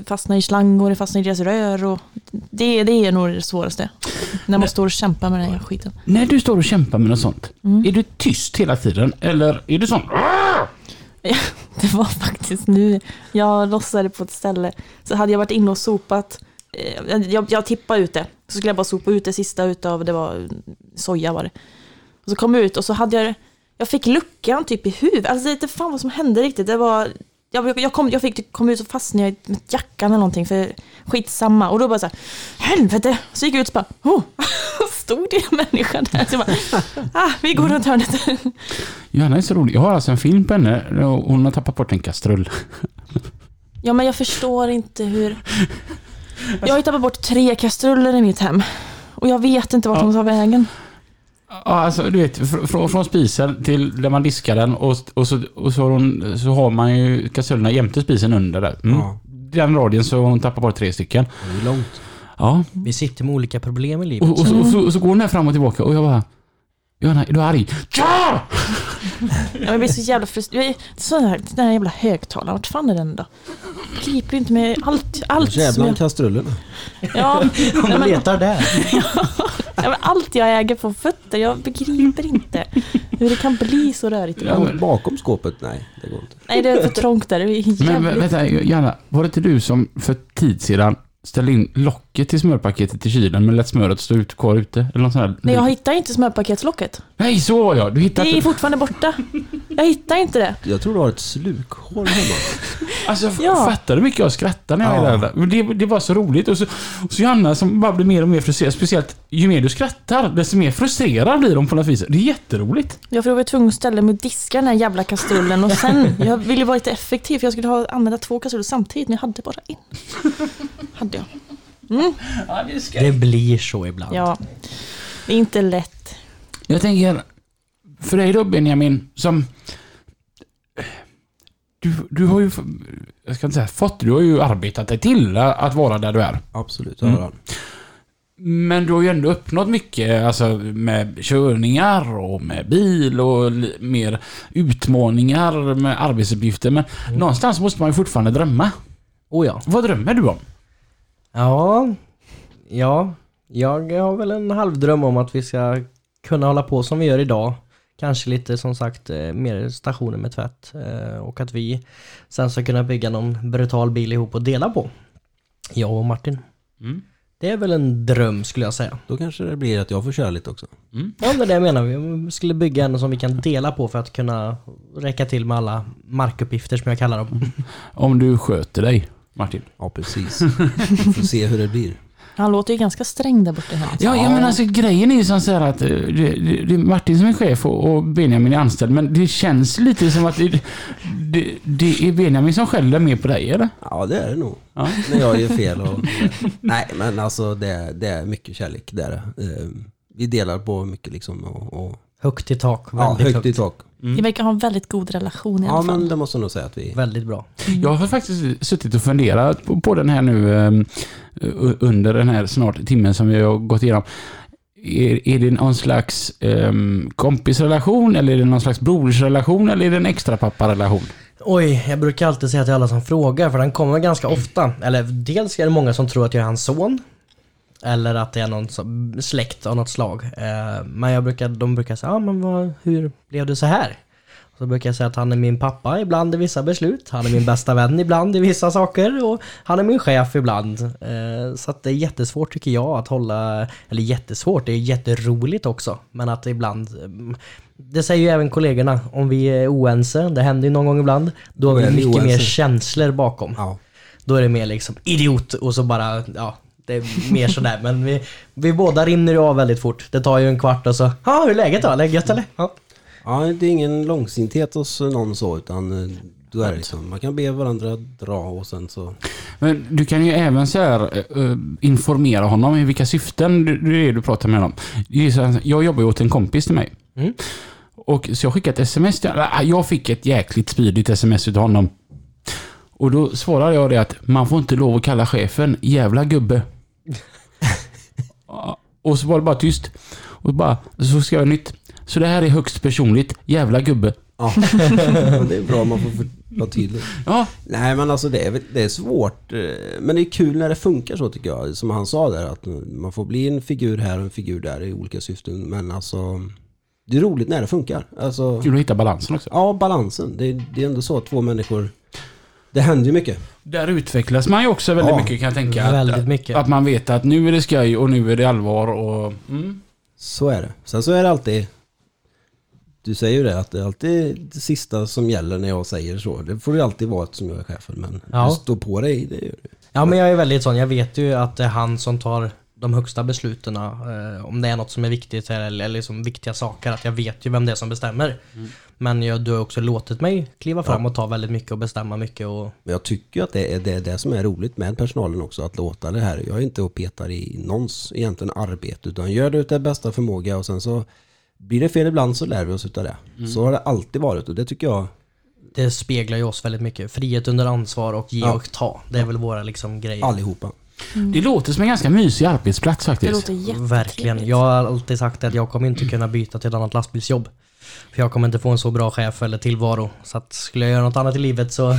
fastna i slang och det fastnar i deras rör och det, det är nog det svåraste. När man står och kämpar med den här skiten.
När du står och kämpar med något sånt,
Mm.
är du tyst hela tiden? Eller är du sån?
Det var faktiskt nu jag lossade på ett ställe. Så hade jag varit inne och sopat. eh, Jag, jag tippade ut det. Så skulle jag bara sopa ut det sista utav, det var soja var det. Och så kom jag ut och så hade jag jag fick luckan typ i huvudet. Alltså jag vet inte fan vad som hände riktigt. Det var, jag, jag, kom, jag fick typ komma ut och fastnade i- med jackan eller någonting för skitsamma. Och då bara så här, helvete! Så gick jag ut och bara, oh! Stod det en människa där? Så jag bara, ah, vi går runt hörnet.
Johanna är så rolig. Jag har alltså en film på henne. och Hon har tappat bort en kastrull.
Ja, men jag förstår inte hur... Jag har ju tappat bort tre kastruller i mitt hem. Och jag vet inte vart de tar vägen.
Ja, alltså du vet, fr- från, från spisen till där man diskar den och, och, så, och så, har hon, så har man ju kastrullerna jämte spisen under där. Mm.
Ja.
Den radien så har hon tappat bort tre stycken.
Det är långt.
Ja.
Vi sitter med olika problem i
Mm.
livet.
Och, och, så, och, så, och så går den här fram och tillbaka och jag bara... Johanna, är du arg? Ja!
Ja, Jag blir så jävla frustrerad. Sån här, den här jävla högtalaren, vart fan är den då? Griper ju inte med allt, allt som
Jävlar
jag...
kastrullerna.
Ja,
Om
nej,
du
men, ja,
letar där.
men allt jag äger på fötter, jag begriper inte hur det kan bli så rörigt.
Ja, men-
Bakom skåpet? Nej, det går inte.
Nej, det är för trångt där. Det är
Men vä-
jävligt...
vänta, Johanna. Var det inte du som för tid sedan ställde in locket till smörpaketet i kylen men lät smöret stå ut kvar ute? Eller något sånt där?
Nej, jag hittar inte smörpaketslocket.
Nej, så var jag! Du hittade
Det är
inte...
fortfarande borta. Jag hittar inte det.
Jag tror du har ett slukhål hemma.
Alltså, f-
Ja.
fattar du hur mycket jag skrattar när jag
Ja.
är där? Men Det, det var så roligt. Och så, och så Johanna som bara blir mer och mer frustrerad. Speciellt ju mer du skrattar, desto mer frustrerad blir de på något vis. Det är jätteroligt.
Ja, för då var jag tvungen att ställa mig och diska den här jävla kastrullen och sen, jag ville vara lite effektiv för jag skulle ha, använda två kastruller samtidigt, men jag hade bara en. Hade jag.
Det blir så ibland.
Ja. Det är inte lätt.
Jag tänker, för dig då Benjamin, som... Du, du har ju, jag ska inte säga fått, du har ju arbetat dig till att vara där du är.
Absolut, det har han.
Men du har ju ändå uppnått mycket, alltså med körningar och med bil och li- mer utmaningar med arbetsuppgifter. Men någonstans måste man ju fortfarande drömma.
Oh, ja.
Vad drömmer du om?
Ja, ja, jag har väl en halvdröm om att vi ska kunna hålla på som vi gör idag. Kanske lite som sagt eh, mer stationer med tvätt eh, och att vi sen ska kunna bygga någon brutal bil ihop och dela på. Jag och Martin.
Mm.
Det är väl en dröm skulle jag säga.
Då kanske det blir att jag får köra lite också.
Ja, men det menar vi. Vi skulle bygga en som vi kan dela på för att kunna räcka till med alla markuppgifter som jag kallar dem.
Om du sköter dig, Martin.
Ja, precis. Vi får se hur det blir.
Han låter ju ganska sträng där borta. här.
Ja, ja men alltså grejen är ju som så här att eh, det, det, det är Martin som är chef och, och Benjamin är anställd. Men det känns lite som att det, det, det är Benjamin som skäller mer på dig, eller?
Ja, det är det nog.
Ja.
När jag gör fel och... Nej, men alltså det, det är mycket kärlek. Det är det. Eh, Vi delar på mycket liksom och... och
Högt i tak,
ja,
väldigt
högt i
högt.
tak.
Ni verkar ha en väldigt god relation i alla
Ja,
fall.
men det måste jag nog säga att vi...
Väldigt bra.
Jag har faktiskt suttit och funderat på, på den här nu eh, u- under den här snart timmen som vi har gått igenom. Är, är det någon slags eh, kompisrelation eller är det någon slags brorsrelation eller är det en extra papparelation?
Oj, jag brukar alltid säga till alla som frågar för den kommer ganska ofta. Eller dels är det många som tror att jag är hans son. Eller att det är någon som, släkt av något slag. Eh, men jag brukar, de brukar säga, ah, men vad, hur blev det så här? Så brukar jag säga att han är min pappa ibland i vissa beslut. Han är min bästa vän ibland i vissa saker. Och han är min chef ibland. Eh, Så att det är jättesvårt tycker jag att hålla... Eller jättesvårt, det är jätteroligt också. Men att ibland... eh, Det säger ju även kollegorna. Om vi är oense, det händer ju någon gång ibland. Då har
Då
vi
är vi
mycket mer
oense.
känslor bakom.
Ja.
Då är det mer liksom idiot och så bara, ja. Det är mer sådär men vi, vi båda rinner ju av väldigt fort. Det tar ju en kvart och så, ja hur är läget då? Är det gött eller? Ja.
ja, det är ingen långsinthet hos någon så utan eh, då är det liksom, man kan be varandra dra och sen så...
Men du kan ju även så här, eh, informera honom i vilka syften du, det är det du pratar med honom. Det är så här, Jag jobbar ju åt en kompis till mig. Och Så jag skickade ett sms till honom. Ah, Jag fick ett jäkligt spydigt sms utav honom. Och då svarade jag det att man får inte lov att kalla chefen jävla gubbe. Ja, och så var det bara tyst. Och bara, så skrev jag nytt. Så det här är högst personligt. Jävla gubbe.
Ja, det är bra man får för- vara tydlig.
Ja,
Nej men alltså det är, väl- det är svårt. eh, Men det är kul när det funkar så tycker jag. Som han sa där att eh, man får bli en figur här och en figur där i olika syften. Men alltså det är roligt när det funkar. Alltså,
kul att hitta balansen också.
ja, balansen. Det, det är ändå så att två människor... Det händer ju mycket.
Där utvecklas man ju också väldigt
Ja,
mycket kan jag tänka. Att-
väldigt mycket.
Att man vet att nu är det skoj och nu är det allvar och... Mm.
Så är det. Sen så är det alltid... Du säger ju det att det är alltid det sista som gäller när jag säger så. Det får ju alltid vara som jag är chefen. Men
Ja.
du står på dig, det gör du.
Ja men jag är väldigt sån, jag vet ju att det är han som tar de högsta besluten. eh, Om det är något som är viktigt här, eller, eller liksom viktiga saker, att jag vet ju vem det är som bestämmer. Men jag, du har också låtit mig kliva fram och ta väldigt mycket och bestämma mycket. Och,
Men jag tycker ju att det är det, är det som är roligt med personalen också, att låta det här. Jag är inte och petar i någons egentligen arbete, utan gör det utav bästa förmåga och sen så blir det fel ibland så lär vi oss utav det. Så har det alltid varit och det tycker jag,
det speglar ju oss väldigt mycket. Frihet under ansvar och ge
Ja.
och ta. Det är väl våra liksom grejer.
allihopa.
Det låter som en ganska mysig arbetsplats
Mm. Det
faktiskt.
låter jättetrevligt.
Verkligen. Jag har alltid sagt att jag kommer inte kunna byta till ett annat lastbilsjobb. För jag kommer inte få en så bra chef eller tillvaro. Så att skulle jag göra något annat i livet så...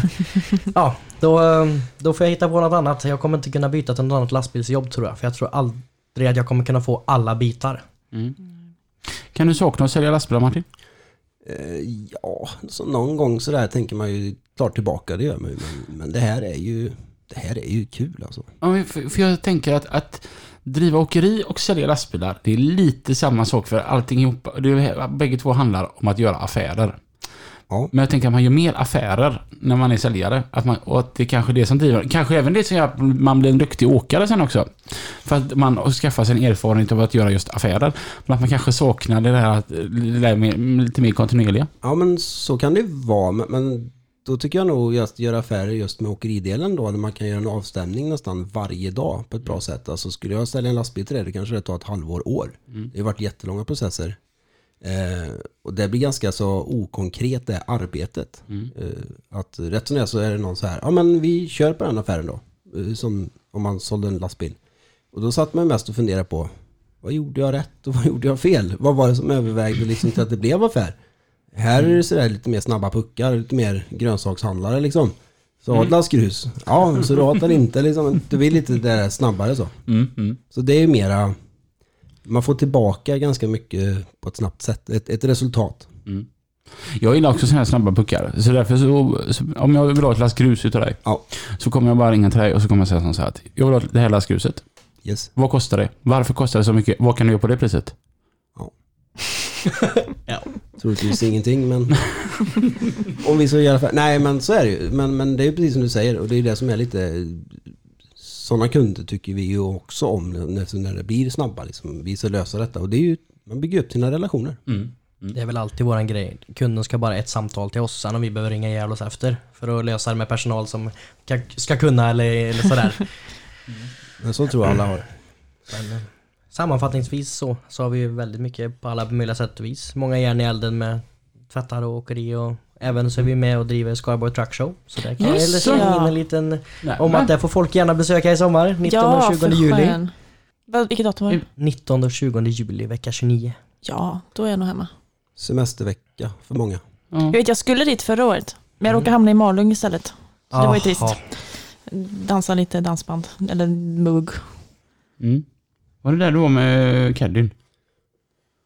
ja, då, eh, då får jag hitta på något annat. Jag kommer inte kunna byta till något annat lastbilsjobb tror jag. För jag tror aldrig att jag kommer kunna få alla bitar.
Kan du sakna att sälja lastbilar Martin?
Eh, ja, så någon gång sådär tänker man ju klart tillbaka, det gör man ju. Men, men det här är ju, det här är ju kul alltså.
Ja, men för, för jag tänker att, att driva åkeri och sälja lastbilar, det är lite samma sak för allting ihop. Det är, bägge två handlar om att göra affärer.
Ja.
Men jag tänker att man gör mer affärer när man är säljare. Att man, och att det är kanske är det som driver. Kanske även det som gör att man blir en duktig åkare sen också. För att man har skaffat sig en erfarenhet av att göra just affärer. Men att man kanske saknar det där, att- det där med, lite mer kontinuerliga.
Ja men så kan det ju vara, men, men då tycker jag nog just göra affärer just med åkeridelen då, där man kan göra en avstämning nästan varje dag på ett bra sätt. Alltså skulle jag ställa en lastbil till det, det kanske det tar ett halvår, år. Det har varit jättelånga processer. Eh, och det blir ganska så okonkret det arbetet. Eh, att rätt som det är så är det någon så här, ja men vi kör på den affären då. Eh, som om man sålde en lastbil. Och då satt man mest och funderade på, vad gjorde jag rätt och vad gjorde jag fel? Vad var det som övervägde liksom till att det blev affär? Här är det sådär lite mer snabba puckar, lite mer grönsakshandlare liksom. Så adlas grus. Ja, så du adlar inte liksom. Du vill lite det där snabbare så.
Mm,
Så det är ju mera, man får tillbaka ganska mycket på ett snabbt sätt. Ett, ett resultat.
Jag gillar också sådana här snabba puckar. Så därför så, så om jag vill ha ett last grus utav dig.
Ja,
Så kommer jag bara ringa till dig och så kommer jag säga som så här att jag vill ha det här lastgruset.
yes.
Vad kostar det? Varför kostar det så mycket? Vad kan du göra på det priset?
Troligtvis ingenting men... Om vi så gör affär. Nej men så är det ju. Men, men det är ju precis som du säger och det är det som är lite... Sådana kunder tycker vi ju också om när, när det blir snabba liksom. Vi ska lösa detta och det är ju... Man bygger upp sina relationer.
Det är väl alltid våran grej. Kunden ska bara ha ett samtal till oss, sen om vi behöver ringa ihjäl oss efter. För att lösa det med personal som kan, ska kunna eller, eller sådär.
Men så tror jag alla har.
Men, eh, sammanfattningsvis så, så har vi ju väldigt mycket på alla möjliga sätt och vis. Många järn i elden med tvättar och åkeri och även så är vi med och driver Skaraborg Truck Show. Så där kan
Just
jag slänga
ja.
in en liten
Nej,
om att det får folk gärna besöka i sommar. 19
ja,
och 20
för
juli.
skön. Vad- Vilket datum var det?
19 och 20 juli vecka 29.
Ja, då är jag nog hemma.
Semestervecka för många.
Jag vet, jag skulle dit förra året, men jag råkade hamna i Malung istället. Så det var ju trist.
Aha.
Dansa lite dansband, eller mugg.
Mm. Var det där du var med Caddyn?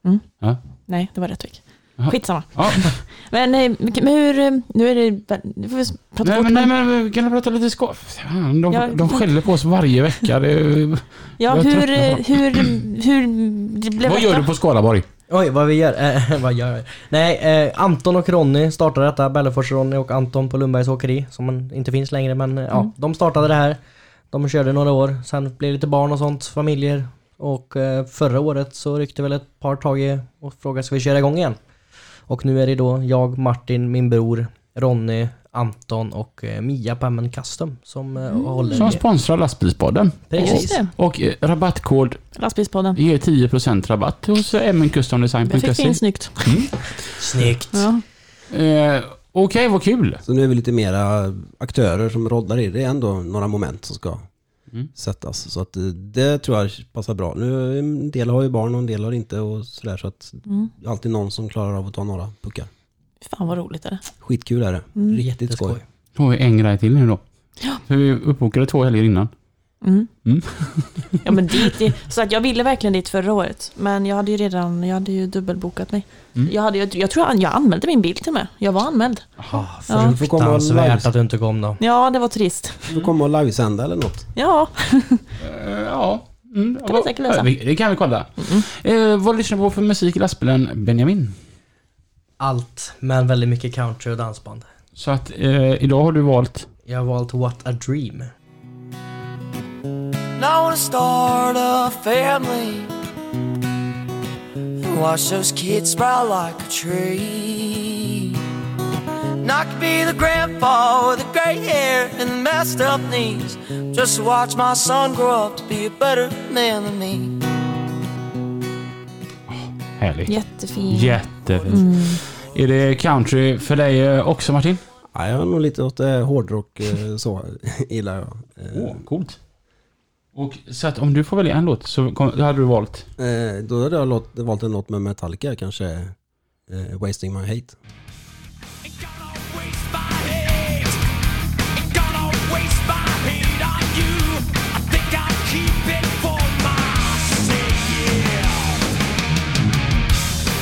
Mm.
Ja.
Nej, det var Rättvik. Skitsamma.
Ja.
Men, eh, men hur, eh, nu är det, nu får vi prata
Nej,
bort
men,
men-
nej, men vi kan prata lite skoj. Fan, De,
Ja.
de skäller på oss varje vecka. Det, är-
Ja,
jag
hur,
tröttnar på
eh, hur, hur, det blev
vad gör
detta?
du på Skaraborg?
Oj, vad vi gör. Eh, vad gör vi? Nej, eh, Anton och Ronny startade detta. Bellefors-Ronny och Anton på Lundbergs Åkeri, som man inte finns längre, men eh,
Mm.
ja, de startade det här. De körde några år, sen blev det lite barn och sånt, familjer. Och eh, förra året så ryckte väl ett par tag i och frågade ska vi köra igång igen? Och nu är det då jag, Martin, min bror, Ronny, Anton och eh, Mia Pammen Custom som eh,
Mm.
håller
Som
i-
sponsrar lastbilspodden.
Just
Precis.
det,
Och eh, rabattkod
lastbilspodden.
ger 10% rabatt hos eh,
Jag fick det
mncustomdesign.se.
in snyggt.
Snyggt!
Ja.
Eh, Okej, vad kul.
Så nu är vi lite mera aktörer som roddar i. Det är ändå några moment som ska
Mm.
sättas. Så att eh, det tror jag passar bra. Nu, en del har ju barn och en del har inte och sådär. Så att
Mm.
det är alltid någon som klarar av att ta några puckar.
Fan vad roligt är det.
Skitkul är det.
Mm.
Riktigt skoj.
Då har vi en grej till nu då. För vi uppbokade två helger innan.
Mm.
Mm.
ja, men dit, det- så att jag ville verkligen dit förra året, men jag hade ju redan jag hade ju dubbelbokat mig.
Mm.
Jag, hade, jag, jag tror jag, jag anmälde min bil till mig. Jag var anmäld.
Ah,
Ja.
Du får komma och
fruktansvärt
live-
att du inte kom då.
Ja, det var trist.
du får komma och livesända eller något.
Ja,
Eh, ja. Mm,
Kan vi säkert lösa.
Ja, vi- Det kan vi kolla. Eh, vad lyssnar du på för musik i lastbilen, Benjamin?
Allt, men väldigt mycket country och dansband.
Så att eh, idag har du valt...
Jag har valt What a Dream.
And I wanna start a family and watch those kids sprout like a tree. And I could be the grandpa with the gray hair and the messed up knees, just to watch my son grow up to be a better man than me.
Härligt.
jättefin.
Jättefint. Är det country för dig eh, också Martin?
Ja, jag är nog lite åt eh, hårdrock eh, så gillar jag. Eh,
coolt. Och så att om du får välja en låt så kom, då hade du valt?
eh, Då hade jag låt, valt en låt med Metallica kanske. Eh, Wasting My Hate.
Ain't gonna waste my hate. Ain't gonna waste my hate on you. I think I'll keep it for myself.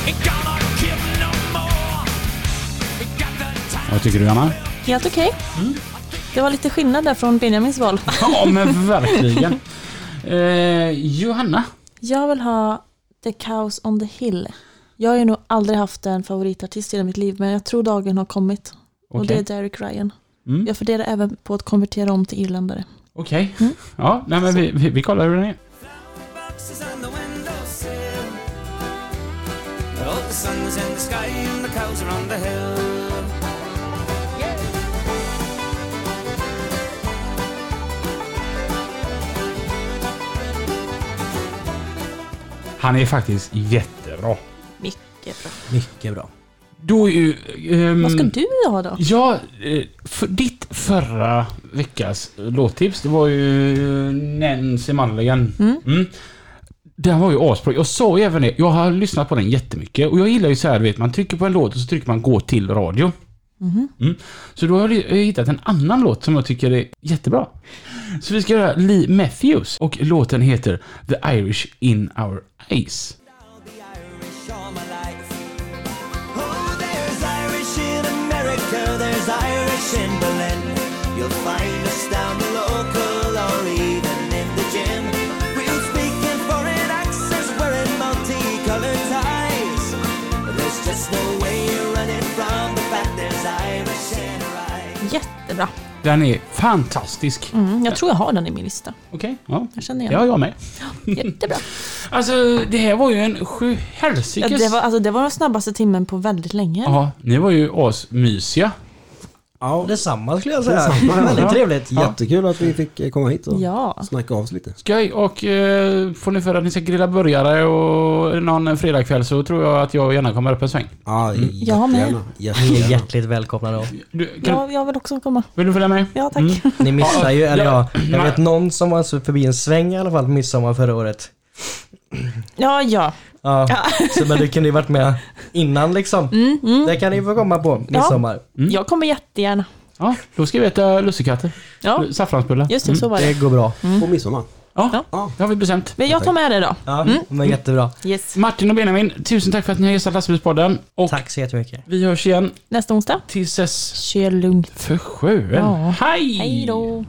Ain't gonna give no more. Ain't got the time.
Vad tycker du Anna?
Helt okej.
Mm.
Det var lite skillnad där från Benjamins val.
Ja men verkligen. Eh, Johanna?
Jag vill ha The Cows on the Hill. Jag har ju nog aldrig haft en favoritartist i hela mitt liv, men jag tror dagen har kommit. Och det
Okej.
är Derek Ryan.
Mm.
Jag funderar även på att konvertera om till irländare.
Okej.
Mm.
Ja, nej, men vi, vi, vi kollar hur den är.
Boxes on the windowsill. Oh, the sun is in the sky and the cows are on the hill.
Han är faktiskt jättebra.
Mycket bra.
Mycket bra.
Då är ju... ehm,
Vad ska du ha då?
Ja, eh, för ditt förra veckas låttips, det var ju eh, Nancy Mulligan. Mm. Den var ju asbra. Jag sa ju även det, jag har lyssnat på den jättemycket och jag gillar ju så här, du vet, man trycker på en låt och så trycker man gå till radio.
Mm-hmm.
Mm. Så då har jag jag har hittat en annan låt som jag tycker är jättebra. Så vi ska göra Lee Matthews och låten heter The Irish In Our Eyes.
the Irish all my life. Oh, there's Irish in America, there's Irish in Berlin. You'll find us down the local or even in the gym. We'll speak in foreign accents, wearing multicolored ties. There's just no way you're running from the fact there's Irish in our eyes.
Jättebra.
Den är fantastisk.
Mm, jag tror jag har den i min lista.
Okej, ja.
Jag känner igen
Ja, jag med.
den. Jättebra.
Alltså det här var ju en
Ja,
sjuhelsikes...
det, var, alltså, det var den snabbaste timmen på väldigt länge.
Ja, ni var ju asmysiga.
Ja,
Detsamma skulle jag säga.
Detsamma, ja.
Väldigt trevligt.
jättekul att vi fick eh, komma hit och
Ja.
snacka av oss lite.
Skoj och eh, får ni för att ni ska grilla burgare och någon fredagkväll så tror jag att jag gärna kommer upp en sväng.
Ja,
Jag med.
jättegärna.
Ni är
jättegärna.
hjärtligt välkomnade. då.
Du, kan,
Jag, jag vill också komma.
Vill du följa med?
Ja, tack.
Ni missar ju, eller ja, jag
Nej.
vet någon som var så förbi en sväng i alla fall på midsommar förra året.
Ja, ja.
Ja, så men du kunde ju varit med innan liksom. Det kan ni ju få komma på midsommar.
Jag kommer jättegärna.
Ja, då ska vi äta lussekatter.
Ja,
Saffransbullar.
just det. Så var det.
Det går bra.
På midsommar.
Ja, Ja,
Ja.
ja. det har vi bestämt.
Men jag tar med det då.
Ja, men jättebra.
Yes.
Martin och Benjamin, tusen tack för att ni har gästat Lastbilspodden. Och
Tack så jättemycket.
vi hörs igen
Nästa onsdag.
tills dess
Kör lugnt.
för sjuen.
Ja.
Hej!
Hej då.